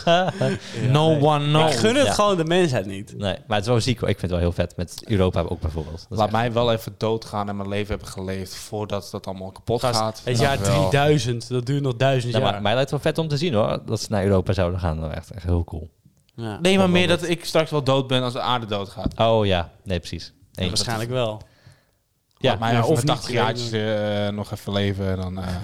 [SPEAKER 1] Ja,
[SPEAKER 3] no
[SPEAKER 1] nee.
[SPEAKER 3] one knows.
[SPEAKER 1] Ik gun het
[SPEAKER 2] Ja.
[SPEAKER 1] gewoon de mensheid niet.
[SPEAKER 2] Nee, maar het is wel ziek hoor. Ik vind het wel heel vet. Met Europa ook bijvoorbeeld. Dat is
[SPEAKER 3] Laat
[SPEAKER 2] echt-
[SPEAKER 3] mij wel even doodgaan en mijn leven hebben geleefd voordat dat allemaal kapot
[SPEAKER 1] Gast,
[SPEAKER 3] gaat.
[SPEAKER 1] Het
[SPEAKER 3] Dat
[SPEAKER 1] jaar
[SPEAKER 3] wel.
[SPEAKER 1] 3000, dat duurt nog duizend
[SPEAKER 2] Ja, maar
[SPEAKER 1] jaar.
[SPEAKER 2] mij lijkt het wel vet om te zien hoor. Dat ze naar Europa zouden gaan. Dat is echt, echt heel cool.
[SPEAKER 1] Ja.
[SPEAKER 3] Nee, maar meer dat ik straks wel dood ben als de aarde doodgaat.
[SPEAKER 2] Oh ja, nee precies. Nee,
[SPEAKER 1] Waarschijnlijk wel.
[SPEAKER 2] Ja,
[SPEAKER 3] Laat mij
[SPEAKER 1] ja,
[SPEAKER 3] even
[SPEAKER 1] of
[SPEAKER 3] met
[SPEAKER 1] niet,
[SPEAKER 3] 80 jaartjes eh, nog even leven. en Dan, eh,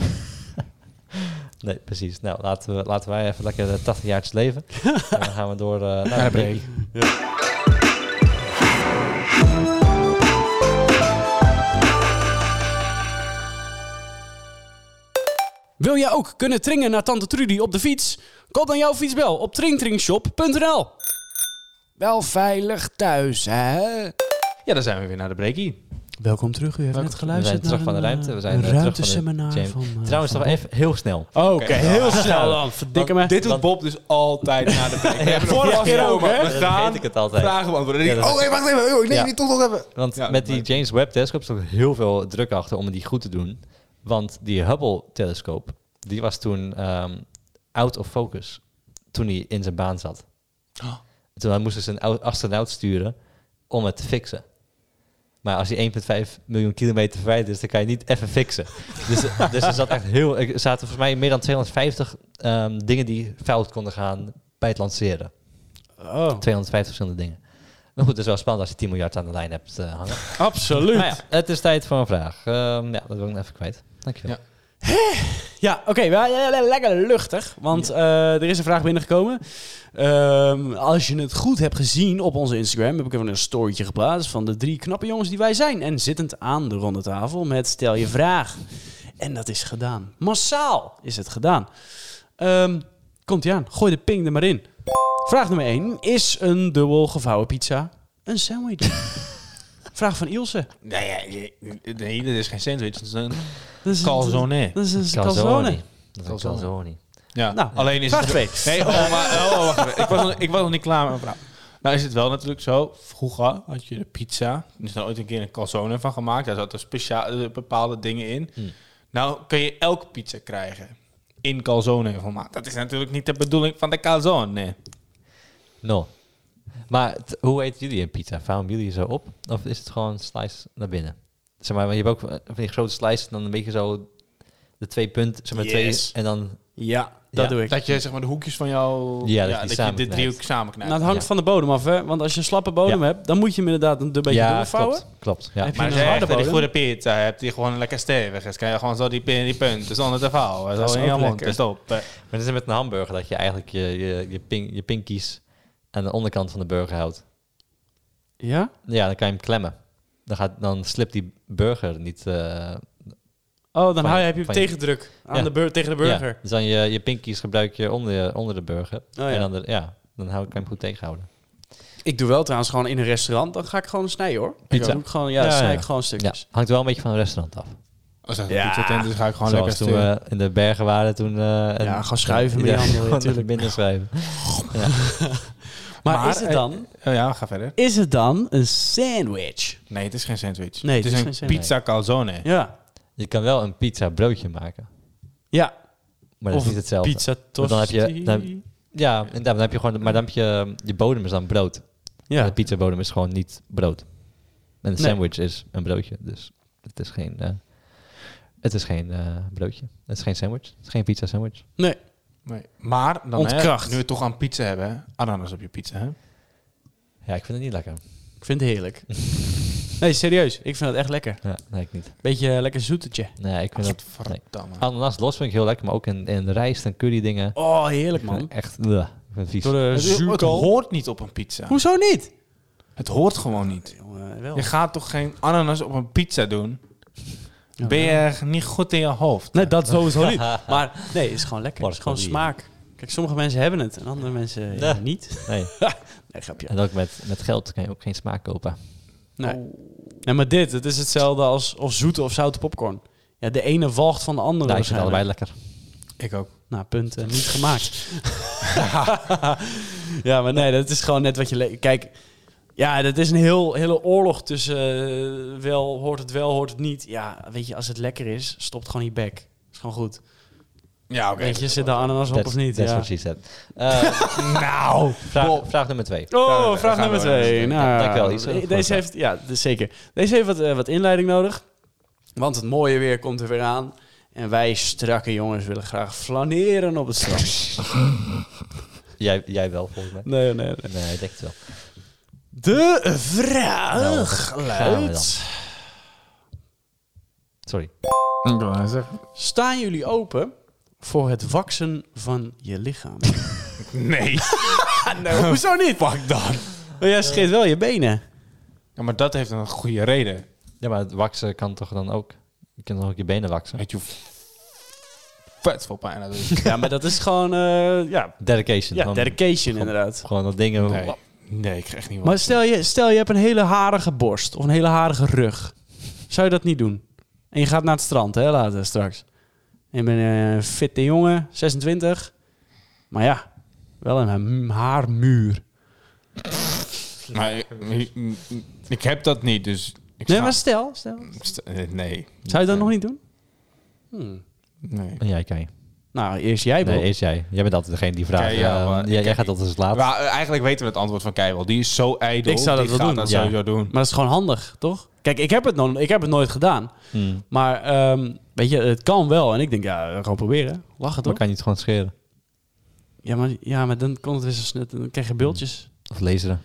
[SPEAKER 2] Nee, precies. Nou, laten, we, laten wij even lekker de 80 jaartjes leven. en dan gaan we door eh,
[SPEAKER 3] naar
[SPEAKER 2] naar
[SPEAKER 3] de
[SPEAKER 2] de
[SPEAKER 3] break.
[SPEAKER 2] break.
[SPEAKER 1] Wil jij ook kunnen tringen naar Tante Trudy op de fiets? Koop dan jouw fietsbel op tringtringshop.nl. Wel veilig thuis, hè?
[SPEAKER 3] Ja, dan zijn we weer naar de breakie.
[SPEAKER 1] Welkom terug. U heeft
[SPEAKER 3] Welkom
[SPEAKER 1] net
[SPEAKER 2] We zijn
[SPEAKER 1] geluisterd
[SPEAKER 2] terug van de
[SPEAKER 1] naar een,
[SPEAKER 2] ruimte. We zijn
[SPEAKER 1] een
[SPEAKER 2] eh, terug van de
[SPEAKER 1] ruimteseminar
[SPEAKER 2] James.
[SPEAKER 1] van... eh,
[SPEAKER 2] Trouwens, nog
[SPEAKER 1] van-
[SPEAKER 2] even heel snel.
[SPEAKER 1] Oh, Oké,
[SPEAKER 3] Oké.
[SPEAKER 1] heel snel dan. Verdikke
[SPEAKER 2] Eh,
[SPEAKER 1] me.
[SPEAKER 3] Dit doet Bob dus altijd naar de break. We hebben nog
[SPEAKER 1] Vorige
[SPEAKER 3] vast
[SPEAKER 1] keer ook,
[SPEAKER 3] genomen.
[SPEAKER 1] hè?
[SPEAKER 3] We
[SPEAKER 2] Dat
[SPEAKER 3] gaan
[SPEAKER 2] vergeet ik het altijd.
[SPEAKER 3] vragen beantwoorden. En ik,
[SPEAKER 2] Ja, dat-
[SPEAKER 3] oh, nee, wacht even. Oh, ik neem
[SPEAKER 2] Ja.
[SPEAKER 3] die toch nog even.
[SPEAKER 2] Want
[SPEAKER 3] Ja,
[SPEAKER 2] met die
[SPEAKER 3] maar-
[SPEAKER 2] James Webb telescoop stond heel veel druk achter om die goed te doen. Want die Hubble telescoop, die was toen ehm, out of focus toen hij in zijn baan zat.
[SPEAKER 3] Oh.
[SPEAKER 2] Toen moesten ze een ou- astronaut sturen om het te fixen. Maar als hij 1,5 miljoen kilometer verwijderd is, dan kan je niet even fixen. dus, dus er zat echt heel, er zaten volgens mij meer dan 250 ehm, dingen die fout konden gaan bij het lanceren.
[SPEAKER 1] Oh,
[SPEAKER 2] 250 verschillende dingen. Maar goed, het is wel spannend als je 10 miljard aan de lijn hebt eh, hangen.
[SPEAKER 1] absoluut.
[SPEAKER 2] Nou ja, het is tijd voor een vraag. Ehm, ja, dat wil ik nog even kwijt. Dankjewel.
[SPEAKER 3] Ja.
[SPEAKER 1] Ja, oké. wel- le- le- lekker luchtig. Want eh, er is een vraag binnengekomen. Ehm, als je het goed hebt gezien op onze Instagram... heb ik even een storytje geplaatst... van de drie knappe jongens die wij zijn. En zittend aan de ronde tafel met stel je vraag. En dat is gedaan. Massaal is het gedaan. Ehm, Komt-ie aan. Gooi de ping er maar in. Vraag nummer 1. Is een dubbel gevouwen pizza een sandwich? vraag van Ilse.
[SPEAKER 3] Nee, ja, je- nee, dat is geen sandwich. Dat is een
[SPEAKER 1] Dat is
[SPEAKER 3] calzone.
[SPEAKER 1] Dat is een calzone.
[SPEAKER 2] Calzone. Dat is een
[SPEAKER 3] Calzone.
[SPEAKER 2] calzone.
[SPEAKER 3] Ja,
[SPEAKER 1] Nou,
[SPEAKER 3] alleen is
[SPEAKER 1] Vraag
[SPEAKER 3] het...
[SPEAKER 1] 2.
[SPEAKER 3] Nee, oh, maar, oh, wacht even. Ik was, nog, ik was nog niet klaar met mijn verhaal. Nou is het wel natuurlijk zo. Vroeger had je de pizza. Er is nou ooit een keer een calzone van gemaakt. Daar zaten speciale, bepaalde dingen in.
[SPEAKER 2] Hmm.
[SPEAKER 3] Nou kun je elke pizza krijgen. In calzone formaat. Dat is natuurlijk niet de bedoeling van de calzone. Nee.
[SPEAKER 2] No. Maar t- hoe eten jullie een pizza? Vouwen jullie zo op? Of is het gewoon slice naar binnen? Zeg maar, want je hebt ook eh, van die grote slice en dan een beetje zo de twee punten, zeg maar
[SPEAKER 3] Yes.
[SPEAKER 2] twee en dan...
[SPEAKER 1] Ja, dat
[SPEAKER 2] Ja,
[SPEAKER 1] doe ik.
[SPEAKER 3] Dat je zeg maar de hoekjes van jou...
[SPEAKER 2] Ja, dat je die
[SPEAKER 3] dat je
[SPEAKER 2] samen
[SPEAKER 3] dit
[SPEAKER 2] knijpt.
[SPEAKER 3] driehoek samen knijpt.
[SPEAKER 1] Nou, het hangt
[SPEAKER 2] Ja.
[SPEAKER 1] van de bodem af, hè? Want als je een slappe bodem
[SPEAKER 2] Ja.
[SPEAKER 1] hebt, dan moet je hem inderdaad een beetje
[SPEAKER 2] ja,
[SPEAKER 1] doorvouwen.
[SPEAKER 2] klopt. klopt ja.
[SPEAKER 1] Heb je
[SPEAKER 3] maar
[SPEAKER 1] een
[SPEAKER 3] als je
[SPEAKER 1] harde
[SPEAKER 3] echt een
[SPEAKER 1] bodem?
[SPEAKER 3] goede pizza hebt die gewoon lekker stevig is, kan je gewoon zo die, pin- die punten zonder te vouwen.
[SPEAKER 1] Dat is
[SPEAKER 3] Zo in
[SPEAKER 1] ook
[SPEAKER 3] je mond.
[SPEAKER 1] lekker.
[SPEAKER 3] Dus op. eh.
[SPEAKER 2] Maar het is met een hamburger dat je eigenlijk je, je, je, pink, je pinkies aan de onderkant van de burger houdt.
[SPEAKER 1] Ja?
[SPEAKER 2] Ja, dan kan je hem klemmen. Dan, gaat, dan slipt die burger niet... eh,
[SPEAKER 1] Oh, dan
[SPEAKER 2] je-
[SPEAKER 1] hou je, heb je
[SPEAKER 2] van je-
[SPEAKER 1] tegendruk aan
[SPEAKER 2] Ja.
[SPEAKER 1] de bur- tegen de burger. Oh,
[SPEAKER 2] Ja, dus dan je, je pinkies gebruik je onder, je- onder de burger.
[SPEAKER 1] ja.
[SPEAKER 2] En dan, de- ja, dan hou, kan je hem goed tegenhouden.
[SPEAKER 1] Ik doe wel trouwens gewoon in een restaurant, dan ga ik gewoon snijden, hoor.
[SPEAKER 2] Pizza.
[SPEAKER 1] Dan doe ik gewoon, ja, dan
[SPEAKER 2] Ja,
[SPEAKER 1] snij
[SPEAKER 2] ja.
[SPEAKER 1] ik gewoon
[SPEAKER 2] Ja,
[SPEAKER 1] stukjes.
[SPEAKER 2] hangt wel een beetje van het restaurant af.
[SPEAKER 3] Als dat
[SPEAKER 1] Ja.
[SPEAKER 3] een pizza tent is, ga ik gewoon
[SPEAKER 2] Zoals
[SPEAKER 3] lekker
[SPEAKER 2] toen
[SPEAKER 3] sturen.
[SPEAKER 2] we in de bergen waren toen... eh, en-
[SPEAKER 1] Ja, gewoon schuiven met
[SPEAKER 2] Ja,
[SPEAKER 1] die handen,
[SPEAKER 2] gewoon
[SPEAKER 1] tuurlijk.
[SPEAKER 2] binnen schuiven.
[SPEAKER 1] Maar,
[SPEAKER 3] Maar,
[SPEAKER 1] is, het
[SPEAKER 3] eh,
[SPEAKER 1] dan,
[SPEAKER 3] Oh ja, ga verder.
[SPEAKER 1] is het dan een sandwich?
[SPEAKER 3] Nee, het is geen sandwich.
[SPEAKER 1] Nee,
[SPEAKER 3] het is,
[SPEAKER 1] het is geen
[SPEAKER 3] een
[SPEAKER 1] sandwich.
[SPEAKER 3] pizza calzone.
[SPEAKER 1] Ja.
[SPEAKER 2] Je kan wel een pizza broodje maken.
[SPEAKER 1] Ja.
[SPEAKER 2] Maar dat
[SPEAKER 1] Of
[SPEAKER 2] is niet hetzelfde.
[SPEAKER 1] Pizza
[SPEAKER 2] Want
[SPEAKER 1] tosti.
[SPEAKER 2] dan heb je- dan- Ja, inderdaad, maar dan heb je gewoon... Maar dan heb je... Je bodem is dan brood. En
[SPEAKER 1] ja.
[SPEAKER 2] de pizza bodem is gewoon niet brood. En een
[SPEAKER 1] Nee.
[SPEAKER 2] sandwich is een broodje. Dus het is geen... eh, het is geen eh, broodje. Het is geen sandwich. Het is geen pizza sandwich.
[SPEAKER 1] Nee.
[SPEAKER 3] Nee. Maar dan
[SPEAKER 1] Ontkracht.
[SPEAKER 3] Hè, nu we het toch aan pizza hebben, hè, ananas op je pizza. Hè?
[SPEAKER 2] Ja, ik vind het niet lekker.
[SPEAKER 1] Ik vind het heerlijk. Nee, serieus. Ik vind het echt lekker.
[SPEAKER 2] Ja, nee, ik niet.
[SPEAKER 1] Beetje eh, lekker zoetetje.
[SPEAKER 2] Nee, ik vind dat...
[SPEAKER 3] Verdamme.
[SPEAKER 2] Ananas los vind ik heel lekker, maar ook in, in rijst en curry dingen.
[SPEAKER 1] Oh, heerlijk, man.
[SPEAKER 2] Echt, bleh, ik vind het vies.
[SPEAKER 1] Door de
[SPEAKER 3] Het, het
[SPEAKER 1] Ah, zuurkool.
[SPEAKER 3] hoort niet op een pizza.
[SPEAKER 1] Hoezo niet?
[SPEAKER 3] Het hoort gewoon niet.
[SPEAKER 1] Jongen, wel.
[SPEAKER 3] Je gaat toch geen ananas op een pizza doen?
[SPEAKER 1] Ja.
[SPEAKER 3] Ben je niet goed in je hoofd?
[SPEAKER 1] Nee, dat sowieso niet. Maar nee, het is gewoon lekker. Het is gewoon
[SPEAKER 2] Porco
[SPEAKER 1] smaak. Kijk, sommige mensen hebben het en andere mensen ja,
[SPEAKER 2] Ja.
[SPEAKER 1] niet.
[SPEAKER 2] Nee.
[SPEAKER 1] Nee, grapje.
[SPEAKER 2] En ook met, met geld kan je ook geen smaak kopen.
[SPEAKER 1] Nee. nee, maar dit, het is hetzelfde als, als zoete of zoute popcorn. Ja, de ene walgt van de andere
[SPEAKER 2] Nou, ik vind het
[SPEAKER 1] waarschijnlijk.
[SPEAKER 2] allebei lekker.
[SPEAKER 3] Ik ook.
[SPEAKER 1] Nou, punt eh, niet gemaakt. ja, maar nee, dat is gewoon net wat je... le- Kijk, ja, dat is een heel, hele oorlog tussen eh, wel, hoort het wel, hoort het niet. Ja, weet je, als het lekker is, stopt gewoon je bek. Is gewoon goed.
[SPEAKER 3] Ja, oké.
[SPEAKER 1] Weet je, zit daar ananas op of niet?
[SPEAKER 2] That's
[SPEAKER 1] Ja.
[SPEAKER 2] what she said. Eh,
[SPEAKER 1] Nou,
[SPEAKER 2] vraag, vraag nummer twee.
[SPEAKER 1] Oh,
[SPEAKER 3] Gaan we-
[SPEAKER 1] vraag
[SPEAKER 3] gaan
[SPEAKER 1] nummer
[SPEAKER 3] we naar
[SPEAKER 1] twee.
[SPEAKER 3] de-
[SPEAKER 1] Nou,
[SPEAKER 2] Dankjewel, Lisa, voor de
[SPEAKER 1] Deze
[SPEAKER 2] vraag.
[SPEAKER 1] heeft, ja, dus zeker. Deze heeft wat, eh, wat inleiding nodig. Want het mooie weer komt er weer aan. En wij strakke jongens willen graag flaneren op het strand.
[SPEAKER 2] Jij, jij wel, volgens mij.
[SPEAKER 1] Nee, oh, nee, nee.
[SPEAKER 2] Nee, ik denk het wel.
[SPEAKER 1] De vraag
[SPEAKER 2] Nou, gaan we
[SPEAKER 1] luidt...
[SPEAKER 2] Sorry.
[SPEAKER 1] Staan jullie open voor het waksen van je lichaam?
[SPEAKER 3] Nee.
[SPEAKER 1] nou, hoezo niet?
[SPEAKER 3] Pak dan.
[SPEAKER 1] Maar jij scheert wel je benen.
[SPEAKER 3] Ja, maar dat heeft een goede reden.
[SPEAKER 2] Ja, maar het waksen kan toch dan ook... Je kunt dan ook je benen waksen.
[SPEAKER 3] Weet je hoe vet veel pijn dat is?
[SPEAKER 1] Ja, maar dat is gewoon... eh, ja,
[SPEAKER 2] Dedication.
[SPEAKER 1] ja,
[SPEAKER 2] gewoon-
[SPEAKER 1] dedication inderdaad.
[SPEAKER 2] Gewoon dat dingen...
[SPEAKER 3] Nee. Nee, ik krijg niet wat.
[SPEAKER 1] Maar stel je, stel je hebt een hele harige borst of een hele harige rug. Zou je dat niet doen? En je gaat naar het strand, hè, later straks. En je bent een fitte jongen, 26. Maar ja, wel een ha- haarmuur.
[SPEAKER 3] Dus Maar ik, ik- ik heb dat niet, dus... Ik
[SPEAKER 1] Nee,
[SPEAKER 3] sta-
[SPEAKER 1] maar stel, stel.
[SPEAKER 3] st- eh, nee.
[SPEAKER 1] Zou je dat nog niet doen? Hmm.
[SPEAKER 3] Nee.
[SPEAKER 2] En Oh, jij kan je.
[SPEAKER 1] Nou, eerst jij, Bob.
[SPEAKER 2] Nee, eerst jij. Jij bent altijd degene die vraagt.
[SPEAKER 3] Oké, ja,
[SPEAKER 2] eh,
[SPEAKER 3] maar-
[SPEAKER 2] jij- jij gaat altijd als laatste.
[SPEAKER 3] Maar eh, eigenlijk weten we het antwoord van Keijwel. Die is zo ijdel.
[SPEAKER 1] Ik zou dat
[SPEAKER 3] die
[SPEAKER 1] wel
[SPEAKER 3] gaat
[SPEAKER 1] doen.
[SPEAKER 3] dat
[SPEAKER 2] Ja.
[SPEAKER 3] sowieso doen.
[SPEAKER 1] Maar dat is gewoon handig, toch? Kijk, ik heb het, nog, ik heb het nooit gedaan.
[SPEAKER 2] Hmm.
[SPEAKER 1] Maar ehm, weet je, het kan wel. En ik denk, ja, gewoon proberen. Lachen
[SPEAKER 2] Dan
[SPEAKER 1] toch?
[SPEAKER 2] kan je het gewoon scheren.
[SPEAKER 1] Ja, maar, ja, maar dan komt het weer zo snel. Dan krijg je bultjes.
[SPEAKER 2] Of laseren.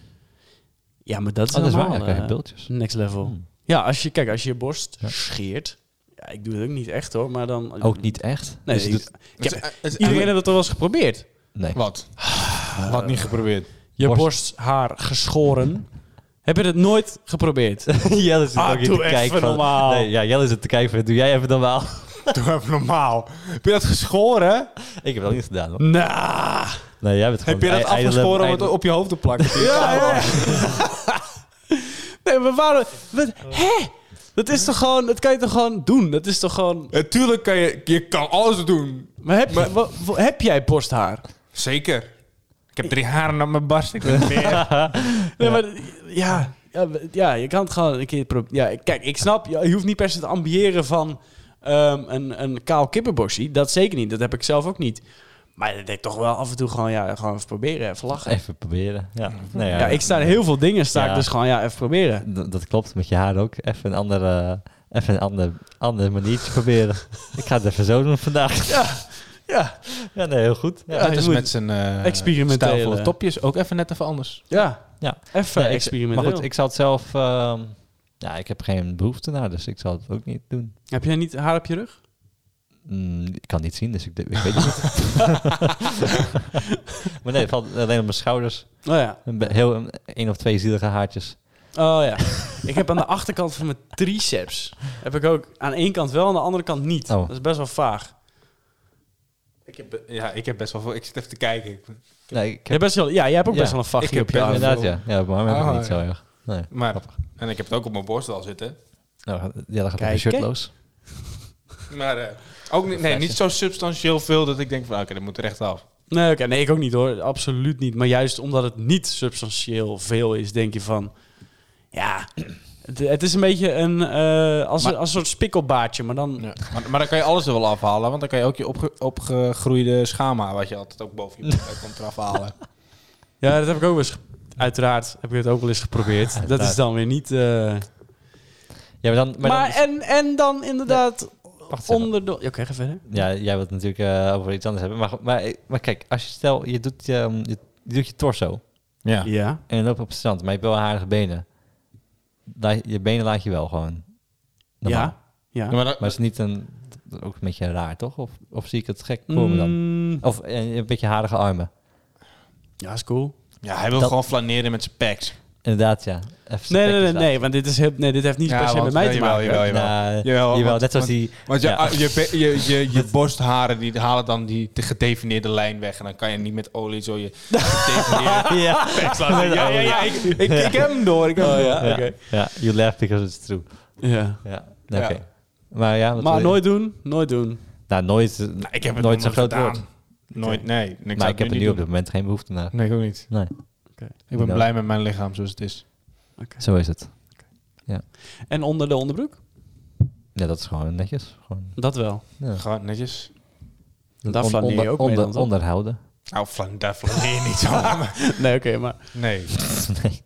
[SPEAKER 1] Ja, maar dat is,
[SPEAKER 2] Oh, dat is waar.
[SPEAKER 1] helemaal,
[SPEAKER 2] Dan krijg je
[SPEAKER 1] eh,
[SPEAKER 2] bultjes.
[SPEAKER 1] Next level.
[SPEAKER 2] Hmm.
[SPEAKER 1] Ja, als je, kijk, als je je borst
[SPEAKER 2] Ja.
[SPEAKER 1] scheert. Ja, ik doe het ook niet echt hoor, maar dan...
[SPEAKER 2] Ook niet echt.
[SPEAKER 1] Nee,
[SPEAKER 2] Dus
[SPEAKER 1] ik-
[SPEAKER 2] het doet-
[SPEAKER 1] ik heb-
[SPEAKER 3] eh, Het is-
[SPEAKER 1] iedereen heeft dat toch wel eens geprobeerd?
[SPEAKER 2] nee.
[SPEAKER 3] Wat? Wat niet geprobeerd.
[SPEAKER 1] Je
[SPEAKER 2] Borst.
[SPEAKER 1] borsthaar geschoren. heb je dat nooit geprobeerd?
[SPEAKER 2] Jelle zit
[SPEAKER 1] Ah,
[SPEAKER 2] ook in
[SPEAKER 1] doe
[SPEAKER 2] te
[SPEAKER 1] even
[SPEAKER 2] kijken van...
[SPEAKER 1] normaal.
[SPEAKER 2] Nee, ja, Jelle zit te kijken van... Doe jij even normaal?
[SPEAKER 3] Doe even normaal. Heb je dat geschoren?
[SPEAKER 2] ik heb dat niet gedaan. Hoor.
[SPEAKER 1] nou,
[SPEAKER 2] Nee, jij bent gewoon...
[SPEAKER 3] Heb je dat
[SPEAKER 2] i- ijdele-
[SPEAKER 3] afgeschoren om het
[SPEAKER 2] ijdele-
[SPEAKER 3] op je hoofd te plakken? ja,
[SPEAKER 1] nee, maar waarom... Wat, hè? Dat is toch gewoon... Dat kan je toch gewoon doen? Dat is toch gewoon...
[SPEAKER 3] Natuurlijk Eh, kan je... Je kan alles doen.
[SPEAKER 1] Maar heb, je- wa- wa- heb jij borsthaar?
[SPEAKER 3] Zeker. Ik heb drie haren op mijn barst. Ik weet het meer.
[SPEAKER 1] Nee, maar... Ja, ja, we- ja, je kan het gewoon een keer proberen. Ja, kijk, ik snap, je je hoeft niet per se te ambiëren van ehm, een, een kaal kippenborstje. Dat zeker niet. Dat heb ik zelf ook niet. Maar ik denk toch wel af en toe gewoon, ja, gewoon even proberen, even lachen.
[SPEAKER 2] Even proberen. Ja, nee,
[SPEAKER 1] Ja, ik sta in heel veel dingen, sta
[SPEAKER 2] Ja.
[SPEAKER 1] ik dus gewoon, ja, even proberen.
[SPEAKER 2] D- dat klopt, met je haar ook. Even een andere, eh, even een ander, ander maniertje proberen. ik ga het even zo doen vandaag.
[SPEAKER 1] Ja,
[SPEAKER 2] ja, nee, heel goed. Ja.
[SPEAKER 1] Ja.
[SPEAKER 3] Dat is
[SPEAKER 1] je moet
[SPEAKER 3] met zijn eh
[SPEAKER 1] experimentele-
[SPEAKER 3] stijlvolle topjes ook even net even anders.
[SPEAKER 1] ja.
[SPEAKER 2] Ja.
[SPEAKER 1] Even
[SPEAKER 2] Nee, ik-
[SPEAKER 1] experimenteel.
[SPEAKER 2] maar goed, ik zal het zelf... ehm, ja, ik heb geen behoefte naar, dus ik zal het ook niet doen.
[SPEAKER 1] Heb jij niet haar op je rug?
[SPEAKER 2] Mm, ik kan het niet zien, dus ik, ik weet het niet. maar nee, het valt alleen op mijn schouders.
[SPEAKER 1] Oh ja.
[SPEAKER 2] Een be- heel een, één of twee zielige haartjes.
[SPEAKER 1] Oh ja. ik heb aan de achterkant van mijn triceps, heb ik ook aan één kant wel, aan de andere kant niet.
[SPEAKER 2] Oh.
[SPEAKER 1] Dat is best wel vaag.
[SPEAKER 3] Ik heb, ja, ik heb best wel veel. Ik zit even te kijken.
[SPEAKER 2] Nee, ik
[SPEAKER 1] Je hebt best wel, ja, jij hebt ook
[SPEAKER 2] Ja,
[SPEAKER 1] best wel een
[SPEAKER 3] ik
[SPEAKER 1] vachtje
[SPEAKER 3] heb
[SPEAKER 1] op je
[SPEAKER 3] best-
[SPEAKER 1] arm.
[SPEAKER 2] Inderdaad, ja. Ja, maar heb ik
[SPEAKER 3] Ah,
[SPEAKER 2] niet
[SPEAKER 3] ja.
[SPEAKER 2] zo erg. Nee.
[SPEAKER 3] Maar, en ik heb het ook op mijn borst al zitten.
[SPEAKER 2] Nou, ja, dan gaat
[SPEAKER 1] Kijk,
[SPEAKER 2] het shirtloos.
[SPEAKER 3] Maar eh, ook niet, nee, niet zo substantieel veel dat ik denk van... Oké, dat moet rechtaf.
[SPEAKER 1] Nee, oké, nee, ik ook niet hoor. Absoluut niet. Maar juist omdat het niet substantieel veel is, denk je van... Ja, het, het is een beetje een, eh, als,
[SPEAKER 3] Maar-
[SPEAKER 1] een, als een soort spikkelbaardje, maar dan...
[SPEAKER 3] Ja. Maar, maar dan kan je alles er wel afhalen. Want dan kan je ook je opge- opgegroeide schama... wat je altijd ook boven je borst komt eraf halen.
[SPEAKER 1] Ja, dat heb ik ook wel eens... ge- Uiteraard heb ik het ook wel eens geprobeerd. Dat is dan weer niet... eh,
[SPEAKER 2] Ja, maar dan...
[SPEAKER 1] Maar,
[SPEAKER 2] Maar dan is-
[SPEAKER 1] en, en dan inderdaad
[SPEAKER 2] wacht even.
[SPEAKER 1] onder de... Ja, oké, ga verder.
[SPEAKER 2] Ja, jij wilt het natuurlijk eh, over iets anders hebben. Maar, goed, maar, eh, maar kijk, als je stel, je doet je, ehm, je, je doet je torso
[SPEAKER 3] Ja.
[SPEAKER 1] Ja. ja.
[SPEAKER 2] en je loopt op het strand, maar je hebt wel harige benen. La- je benen laat je wel gewoon. Normaal.
[SPEAKER 1] Ja.
[SPEAKER 3] maar dat-
[SPEAKER 2] Maar het is niet een, dat is ook een beetje raar, toch? Of, of zie ik het gek voor me dan?
[SPEAKER 1] Mm,
[SPEAKER 2] Of eh, je hebt een beetje harige armen.
[SPEAKER 1] ja, is cool.
[SPEAKER 3] ja, hij wil
[SPEAKER 2] dat-
[SPEAKER 3] gewoon flaneren met zijn packs.
[SPEAKER 2] Inderdaad, ja. Even
[SPEAKER 1] Nee, nee, nee, nee, want dit, is, heel- nee, dit heeft niet
[SPEAKER 3] Ja,
[SPEAKER 1] per se met
[SPEAKER 3] want-
[SPEAKER 1] mij te
[SPEAKER 3] jawel,
[SPEAKER 1] maken.
[SPEAKER 3] jawel.
[SPEAKER 2] Nou,
[SPEAKER 3] Jawel,
[SPEAKER 2] jawel,
[SPEAKER 3] want-
[SPEAKER 2] net zoals
[SPEAKER 3] want-
[SPEAKER 2] die...
[SPEAKER 3] Want je,
[SPEAKER 2] Ja.
[SPEAKER 3] ah, je, be- je, je, je borstharen die halen dan die de gedefinieerde lijn weg. En dan kan je niet met olie zo je gedefinieerde
[SPEAKER 2] ja.
[SPEAKER 3] packs laten zien. Ja, ja, ja. Ik, ik, ik heb hem door. Ik heb hem
[SPEAKER 1] Oh,
[SPEAKER 3] door.
[SPEAKER 1] ja.
[SPEAKER 2] Ja.
[SPEAKER 1] Oké.
[SPEAKER 2] ja, you laugh because it's true.
[SPEAKER 1] Ja.
[SPEAKER 2] Ja,
[SPEAKER 3] Ja.
[SPEAKER 2] oké. Maar ja, wat wil
[SPEAKER 1] Maar
[SPEAKER 2] je-
[SPEAKER 1] nooit doen, nooit doen.
[SPEAKER 2] Nou, nooit,
[SPEAKER 3] Nou, ik heb het
[SPEAKER 2] nooit
[SPEAKER 3] nooit
[SPEAKER 2] zo'n groot
[SPEAKER 3] gedaan.
[SPEAKER 2] woord.
[SPEAKER 3] Nooit, nee. En Ik
[SPEAKER 2] maar
[SPEAKER 3] zou
[SPEAKER 2] ik heb
[SPEAKER 3] het
[SPEAKER 2] er
[SPEAKER 3] nu
[SPEAKER 2] nu
[SPEAKER 3] niet
[SPEAKER 2] op
[SPEAKER 3] doen.
[SPEAKER 2] dit moment geen behoefte naar.
[SPEAKER 3] Nee, ik ook niet.
[SPEAKER 2] Nee,
[SPEAKER 3] Ik ben
[SPEAKER 2] Nou.
[SPEAKER 3] blij met mijn lichaam zoals het is.
[SPEAKER 2] zo is het.
[SPEAKER 1] En onder de onderbroek?
[SPEAKER 2] Ja, dat is gewoon netjes. Gewoon,
[SPEAKER 1] Dat wel.
[SPEAKER 2] ja.
[SPEAKER 3] Gewoon netjes.
[SPEAKER 2] Dat
[SPEAKER 1] Daar flaneer je ook mee
[SPEAKER 2] onder,
[SPEAKER 1] dan, toch?
[SPEAKER 2] Onderhouden.
[SPEAKER 3] Nou, flan, daar flaneer je niet zo aan.
[SPEAKER 1] Nee, oké, maar...
[SPEAKER 3] Nee.
[SPEAKER 2] nee.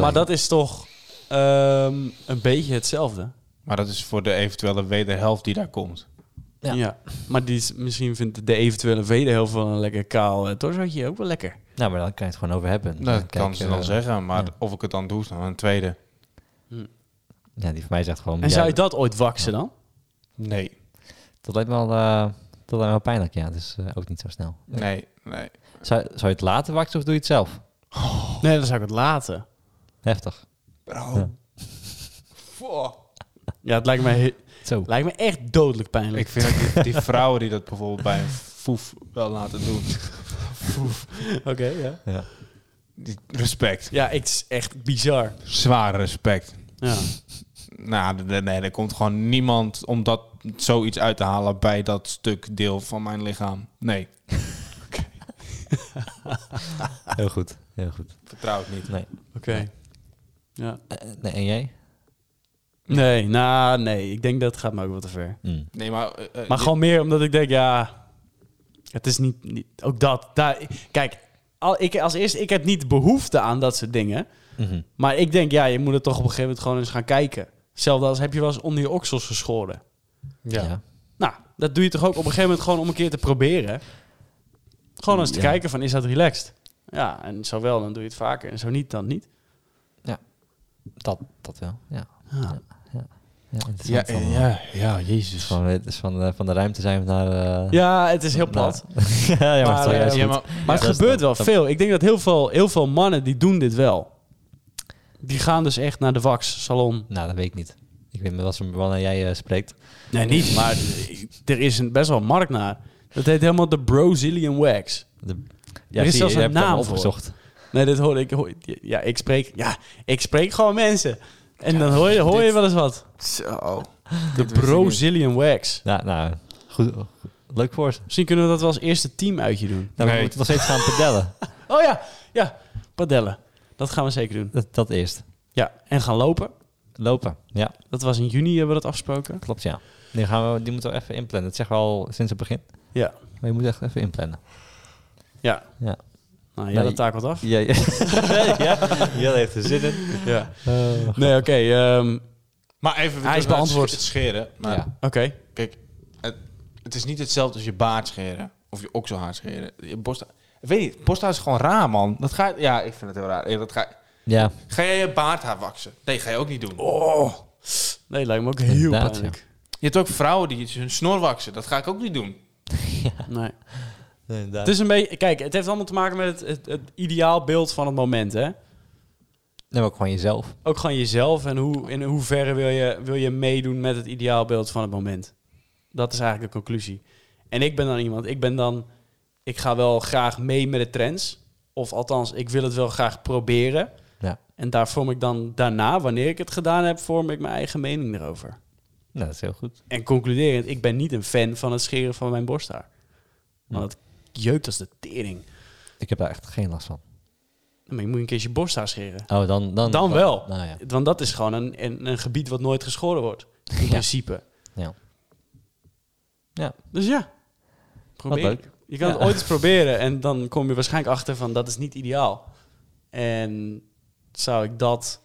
[SPEAKER 1] Maar dat is toch ehm, een beetje hetzelfde.
[SPEAKER 3] Maar dat is voor de eventuele wederhelft die daar komt.
[SPEAKER 2] Ja.
[SPEAKER 1] Ja. Maar die is, misschien vindt de eventuele wederhelft wel een lekker kaal uh, torsootje ook wel lekker.
[SPEAKER 2] Nou, maar dan kan je het gewoon over hebben. Dan
[SPEAKER 3] Dat
[SPEAKER 2] kijk
[SPEAKER 3] kan
[SPEAKER 2] je,
[SPEAKER 3] ze dan
[SPEAKER 2] eh,
[SPEAKER 3] zeggen, maar
[SPEAKER 2] ja.
[SPEAKER 3] of ik het dan doe, is dan een tweede.
[SPEAKER 2] Ja, die van mij zegt gewoon...
[SPEAKER 1] En
[SPEAKER 2] ja,
[SPEAKER 1] zou je dat ooit waksen dan?
[SPEAKER 3] Nee.
[SPEAKER 2] Dat lijkt me al, eh, dat lijkt me wel pijnlijk, ja. Dus eh, ook niet zo snel.
[SPEAKER 3] Nee, nee.
[SPEAKER 2] Zou, zou je het laten wachten of doe je het zelf? Oh.
[SPEAKER 1] Nee, dan zou ik het laten.
[SPEAKER 2] Heftig. Ja.
[SPEAKER 3] Bro. Wow.
[SPEAKER 1] Ja, het lijkt me, he-
[SPEAKER 2] Zo.
[SPEAKER 1] lijkt me echt dodelijk pijnlijk.
[SPEAKER 3] Ik vind dat die, die vrouwen die dat bijvoorbeeld bij een foef wel laten doen.
[SPEAKER 1] Oké, ja.
[SPEAKER 2] Ja.
[SPEAKER 3] Die- respect.
[SPEAKER 1] Ja, het is echt bizar.
[SPEAKER 3] Zwaar respect.
[SPEAKER 1] Ja.
[SPEAKER 3] Nou, d- d- nee, er komt gewoon niemand om dat, zoiets uit te halen bij dat stuk deel van mijn lichaam. Nee,
[SPEAKER 2] Heel goed. Heel goed.
[SPEAKER 3] vertrouw het niet.
[SPEAKER 2] Nee.
[SPEAKER 1] Oké. Ja.
[SPEAKER 2] Eh, nee en jij?
[SPEAKER 1] Nee, nou, nee. Ik denk dat gaat me ook wel te ver.
[SPEAKER 2] Mm.
[SPEAKER 3] Nee, maar... eh, eh,
[SPEAKER 1] Maar
[SPEAKER 3] je-
[SPEAKER 1] gewoon meer omdat ik denk, ja, het is niet, niet ook dat. Daar, kijk, al, ik, als eerst, ik heb niet behoefte aan dat soort dingen.
[SPEAKER 2] Mhm.
[SPEAKER 1] Maar ik denk, ja, je moet het toch op een gegeven moment gewoon eens gaan kijken. Hetzelfde als heb je wel eens onder je oksels geschoren.
[SPEAKER 2] Ja.
[SPEAKER 1] Nou, dat doe je toch ook op een gegeven moment gewoon om een keer te proberen. Gewoon eens te
[SPEAKER 2] Ja.
[SPEAKER 1] kijken van, is dat relaxed? Ja, en zo wel, dan doe je het vaker. En zo niet, dan niet.
[SPEAKER 2] Dat, dat wel. Ja.
[SPEAKER 1] Ja.
[SPEAKER 2] ja,
[SPEAKER 3] Ja,
[SPEAKER 2] interessant
[SPEAKER 3] eh,
[SPEAKER 2] allemaal.
[SPEAKER 3] ja, ja,
[SPEAKER 2] Het is
[SPEAKER 3] jezus.
[SPEAKER 2] gewoon het is van, eh, van de ruimte zijn we naar... eh,
[SPEAKER 1] Ja, het is heel plat.
[SPEAKER 2] ja, ja,
[SPEAKER 1] Maar,
[SPEAKER 2] maar, het is wel
[SPEAKER 1] eh,
[SPEAKER 2] juist
[SPEAKER 3] Ja,
[SPEAKER 2] goed.
[SPEAKER 3] maar
[SPEAKER 1] Maar het
[SPEAKER 2] dat is
[SPEAKER 1] gebeurt
[SPEAKER 2] dan-
[SPEAKER 1] wel
[SPEAKER 2] dat-
[SPEAKER 1] veel. Ik denk dat heel veel, heel veel mannen die doen dit wel. Die gaan dus echt naar de wax salon.
[SPEAKER 2] Nou, dat weet ik niet. Ik weet niet wat voor wanneer jij eh, spreekt.
[SPEAKER 1] Nee, niet. Maar er is een, best wel een markt naar. Dat heet helemaal de Brazilian Wax.
[SPEAKER 2] De,
[SPEAKER 1] Er is
[SPEAKER 2] zie je,
[SPEAKER 1] zelfs
[SPEAKER 2] je
[SPEAKER 1] een
[SPEAKER 2] hebt het allemaal
[SPEAKER 1] naam voor.
[SPEAKER 2] opgezocht.
[SPEAKER 1] Nee, dit hoor ik. hoor- ja, ik spreek, ja, ik spreek gewoon mensen. En dan hoor je, hoor je wel eens wat.
[SPEAKER 3] Zo.
[SPEAKER 1] De Brazilian Wax.
[SPEAKER 2] Nou, nou goed, goed. leuk voor ze.
[SPEAKER 1] Misschien kunnen we dat wel als eerste teamuitje doen.
[SPEAKER 2] Nou,
[SPEAKER 3] Nee.
[SPEAKER 2] We moeten nog steeds gaan pedellen.
[SPEAKER 1] Oh ja, ja. Padellen. Dat gaan we zeker doen.
[SPEAKER 2] Dat, dat eerst.
[SPEAKER 1] Ja, en gaan lopen.
[SPEAKER 2] Lopen. Ja,
[SPEAKER 1] Dat was in juni, hebben we dat afgesproken.
[SPEAKER 2] klopt ja. Die, gaan we, die moeten we even inplannen. Dat zeggen we al sinds het begin.
[SPEAKER 1] Ja.
[SPEAKER 2] Maar je moet echt even inplannen.
[SPEAKER 1] Ja.
[SPEAKER 2] Ja.
[SPEAKER 1] Nou, jij
[SPEAKER 2] Nee.
[SPEAKER 1] dat taak wat af.
[SPEAKER 2] Ja, ja. ja, Jelle heeft er zin in.
[SPEAKER 1] Ja. Nee, oké. ehm,
[SPEAKER 3] Maar
[SPEAKER 1] Hij is
[SPEAKER 3] even terug naar het
[SPEAKER 1] beantwoord.
[SPEAKER 3] sch- Het scheren. Maar
[SPEAKER 2] Ja.
[SPEAKER 1] oké.
[SPEAKER 3] kijk, het, het is niet hetzelfde als je baard scheren. Of je okselhaar scheren. Je borst... Ik weet niet, borsthaar is gewoon raar, man. Dat ga... Ja, ik vind het heel raar. Ja, Dat ga...
[SPEAKER 2] ja,
[SPEAKER 3] ga jij je baardhaar waksen? Nee, ga je ook niet doen.
[SPEAKER 1] Oh. Nee, lijkt me ook heel
[SPEAKER 2] Inderdaad,
[SPEAKER 1] pijnlijk.
[SPEAKER 3] Je hebt ook vrouwen die hun snor waksen. Dat ga ik ook niet doen.
[SPEAKER 1] Nee.
[SPEAKER 2] inderdaad.
[SPEAKER 1] Het is een beetje... Kijk, het heeft allemaal te maken met het, het, het ideaalbeeld van het moment, hè?
[SPEAKER 2] Nee, maar ook gewoon jezelf.
[SPEAKER 1] Ook gewoon jezelf en hoe, in hoeverre wil je, wil je meedoen met het ideaalbeeld van het moment. Dat is eigenlijk de conclusie. En ik ben dan iemand, ik ben dan... Ik ga wel graag mee met de trends. Of althans, ik wil het wel graag proberen.
[SPEAKER 2] Ja.
[SPEAKER 1] En daar vorm ik dan daarna, wanneer ik het gedaan heb, vorm ik mijn eigen mening erover.
[SPEAKER 2] Nou, dat is heel goed.
[SPEAKER 1] En concluderend, ik ben niet een fan van het scheren van mijn borsthaar. Want het jeukt als de tering.
[SPEAKER 2] Ik heb daar echt geen last van.
[SPEAKER 1] Maar je moet een keertje je borsthaar scheren.
[SPEAKER 2] Oh, dan... Dan,
[SPEAKER 1] Dan wel.
[SPEAKER 2] Nou ja.
[SPEAKER 1] Want dat is gewoon een, een, een gebied wat nooit geschoren wordt. In
[SPEAKER 2] Ja.
[SPEAKER 1] principe.
[SPEAKER 2] ja. Ja,
[SPEAKER 1] Dus ja. Probeer.
[SPEAKER 2] leuk.
[SPEAKER 1] Je kan het
[SPEAKER 2] Ja.
[SPEAKER 1] ooit eens proberen. En dan kom je waarschijnlijk achter van dat is niet ideaal. En zou ik dat...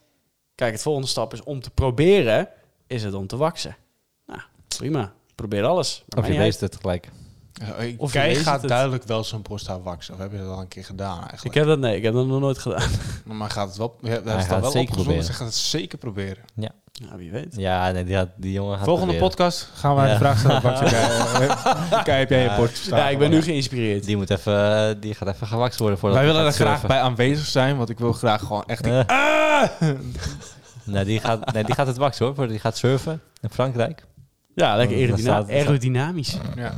[SPEAKER 1] Kijk, het volgende stap is om te proberen, is het om te waksen. Nou, prima. Probeer alles. Maar
[SPEAKER 2] of je
[SPEAKER 1] mij niet
[SPEAKER 2] leest het gelijk.
[SPEAKER 1] Of je
[SPEAKER 3] Kei
[SPEAKER 1] leest
[SPEAKER 3] gaat
[SPEAKER 1] het.
[SPEAKER 3] duidelijk wel zijn borsthaar waksen. Of heb je dat al een keer gedaan
[SPEAKER 1] uit.
[SPEAKER 3] eigenlijk? Nou,
[SPEAKER 1] Ik heb dat, nee, ik heb dat nog nooit gedaan.
[SPEAKER 3] Maar gaat het wel, we hebben
[SPEAKER 2] Hij
[SPEAKER 3] het
[SPEAKER 2] gaat
[SPEAKER 3] al wel
[SPEAKER 2] het zeker
[SPEAKER 3] opgezonden.
[SPEAKER 2] proberen.
[SPEAKER 3] Ze gaat het zeker proberen.
[SPEAKER 1] Nou, wie weet.
[SPEAKER 2] Ja, nee, die, had- die jongen had
[SPEAKER 3] Volgende
[SPEAKER 2] weer-
[SPEAKER 3] podcast gaan wij
[SPEAKER 2] Ja.
[SPEAKER 3] de vraag stellen. Bakje, Kei, Kei, heb jij je borst staan?
[SPEAKER 1] Ja, ik ben nu geïnspireerd.
[SPEAKER 2] Die, moet even, eh, die gaat even gewakst worden voordat
[SPEAKER 3] Wij
[SPEAKER 2] hij
[SPEAKER 3] willen er
[SPEAKER 2] gaat
[SPEAKER 3] graag
[SPEAKER 2] surfen.
[SPEAKER 3] bij aanwezig zijn, want ik wil graag gewoon echt... Ah! die-
[SPEAKER 2] Eh. nee, die gaat, nee, die gaat het waksen hoor. voor- Die gaat surfen in Frankrijk.
[SPEAKER 1] Ja, lekker
[SPEAKER 2] Dan
[SPEAKER 1] aerodyna-
[SPEAKER 2] staat-
[SPEAKER 1] aerodynamisch.
[SPEAKER 3] Ja.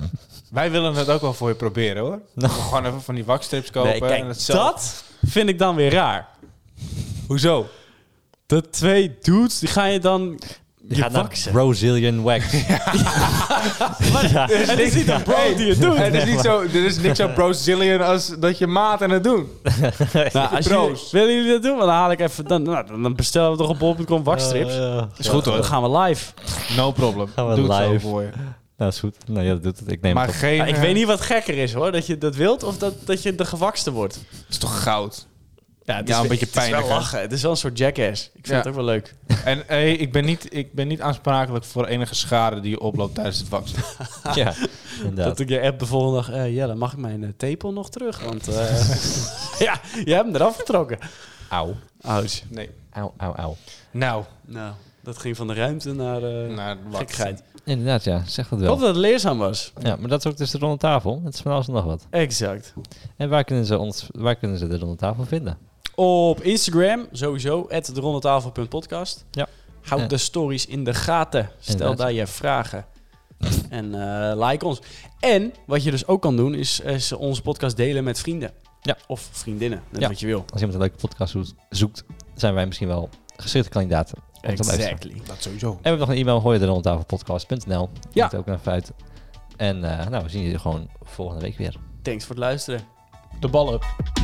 [SPEAKER 3] Wij willen het ook wel voor je proberen hoor.
[SPEAKER 2] Nou.
[SPEAKER 3] Gewoon even van die wakstrips kopen.
[SPEAKER 1] Nee, kijk,
[SPEAKER 3] en het zelf-
[SPEAKER 1] dat vind ik dan weer raar. Hoezo? De twee dudes, die ga je dan
[SPEAKER 2] Je
[SPEAKER 1] Je
[SPEAKER 2] gaat naar
[SPEAKER 1] waksen.
[SPEAKER 2] Brazilian wax.
[SPEAKER 1] Het is niet een bro die het
[SPEAKER 3] Het
[SPEAKER 1] doet.
[SPEAKER 3] is niet zo, er is niks zo Brazilian als dat je maat aan het doen.
[SPEAKER 1] Nou, als
[SPEAKER 3] Bro's.
[SPEAKER 1] jullie- willen jullie dat doen? Want Dan haal ik even. Dan, nou, dan bestellen we toch op bol.com wakstrips.
[SPEAKER 2] Eh, ja.
[SPEAKER 3] Is goed
[SPEAKER 1] dan
[SPEAKER 3] hoor.
[SPEAKER 1] gaan we live.
[SPEAKER 3] No problem.
[SPEAKER 2] Gaan we
[SPEAKER 3] Doe het
[SPEAKER 2] live.
[SPEAKER 3] zo voor je.
[SPEAKER 2] Nou, is goed. Nou ja, dat doet het. Ik neem
[SPEAKER 3] Maar
[SPEAKER 2] het op.
[SPEAKER 3] geen...
[SPEAKER 1] Ja, Ah, Nou, ik
[SPEAKER 3] eh,
[SPEAKER 1] weet niet wat gekker is hoor. Dat je dat wilt of dat, dat je de gewakste wordt.
[SPEAKER 3] Het is toch goud.
[SPEAKER 1] Ja,
[SPEAKER 3] het is Ja, een beetje
[SPEAKER 1] Het is
[SPEAKER 3] pijnlijk,
[SPEAKER 1] wel
[SPEAKER 3] hè?
[SPEAKER 1] lachen. Het is wel een soort jackass. Ik vind
[SPEAKER 3] Ja.
[SPEAKER 1] het ook wel leuk.
[SPEAKER 3] En hey, ik, ben niet, ik ben niet aansprakelijk voor enige schade die je oploopt tijdens het vaccin.
[SPEAKER 2] Ja, inderdaad.
[SPEAKER 1] Dat ik je app de volgende dag... eh, Jelle, mag ik mijn eh, tepel nog terug? Want eh, ja, je hebt hem eraf getrokken.
[SPEAKER 2] Auw.
[SPEAKER 1] Ouch.
[SPEAKER 3] Nee.
[SPEAKER 2] Auw, auw, auw.
[SPEAKER 3] Nou,
[SPEAKER 1] Nou, dat ging van de ruimte naar eh
[SPEAKER 3] naar wat?
[SPEAKER 1] gekheid.
[SPEAKER 2] Inderdaad, ja. Zeg dat
[SPEAKER 1] Ik hoop
[SPEAKER 2] wel.
[SPEAKER 1] dat het leerzaam was.
[SPEAKER 2] Ja, maar dat is ook dus de ronde tafel. Het is van alles en nog wat.
[SPEAKER 1] Exact.
[SPEAKER 2] En waar kunnen ze, ons, waar kunnen ze de ronde tafel vinden?
[SPEAKER 1] Op Instagram sowieso, at derondetafel.podcast.
[SPEAKER 2] Ja.
[SPEAKER 1] Houd
[SPEAKER 2] Ja.
[SPEAKER 1] de stories in de gaten. Stel
[SPEAKER 2] Inderdaad.
[SPEAKER 1] daar je vragen. en eh, like ons. En wat je dus ook kan doen, is, is onze podcast delen met vrienden.
[SPEAKER 2] Ja.
[SPEAKER 1] Of vriendinnen, net
[SPEAKER 2] Ja.
[SPEAKER 1] wat je wil.
[SPEAKER 2] Als iemand een leuke podcast zoekt- zoekt, zijn wij misschien wel geschikte kandidaten. om te luisteren.
[SPEAKER 3] Dat sowieso.
[SPEAKER 2] En we hebben nog een e-mail, hoor je de rondtafelpodcast.nl.
[SPEAKER 1] Ja.
[SPEAKER 2] Moet ook naar even uit. En eh, nou, we zien jullie gewoon volgende week weer.
[SPEAKER 1] Thanks voor het luisteren.
[SPEAKER 3] De bal up.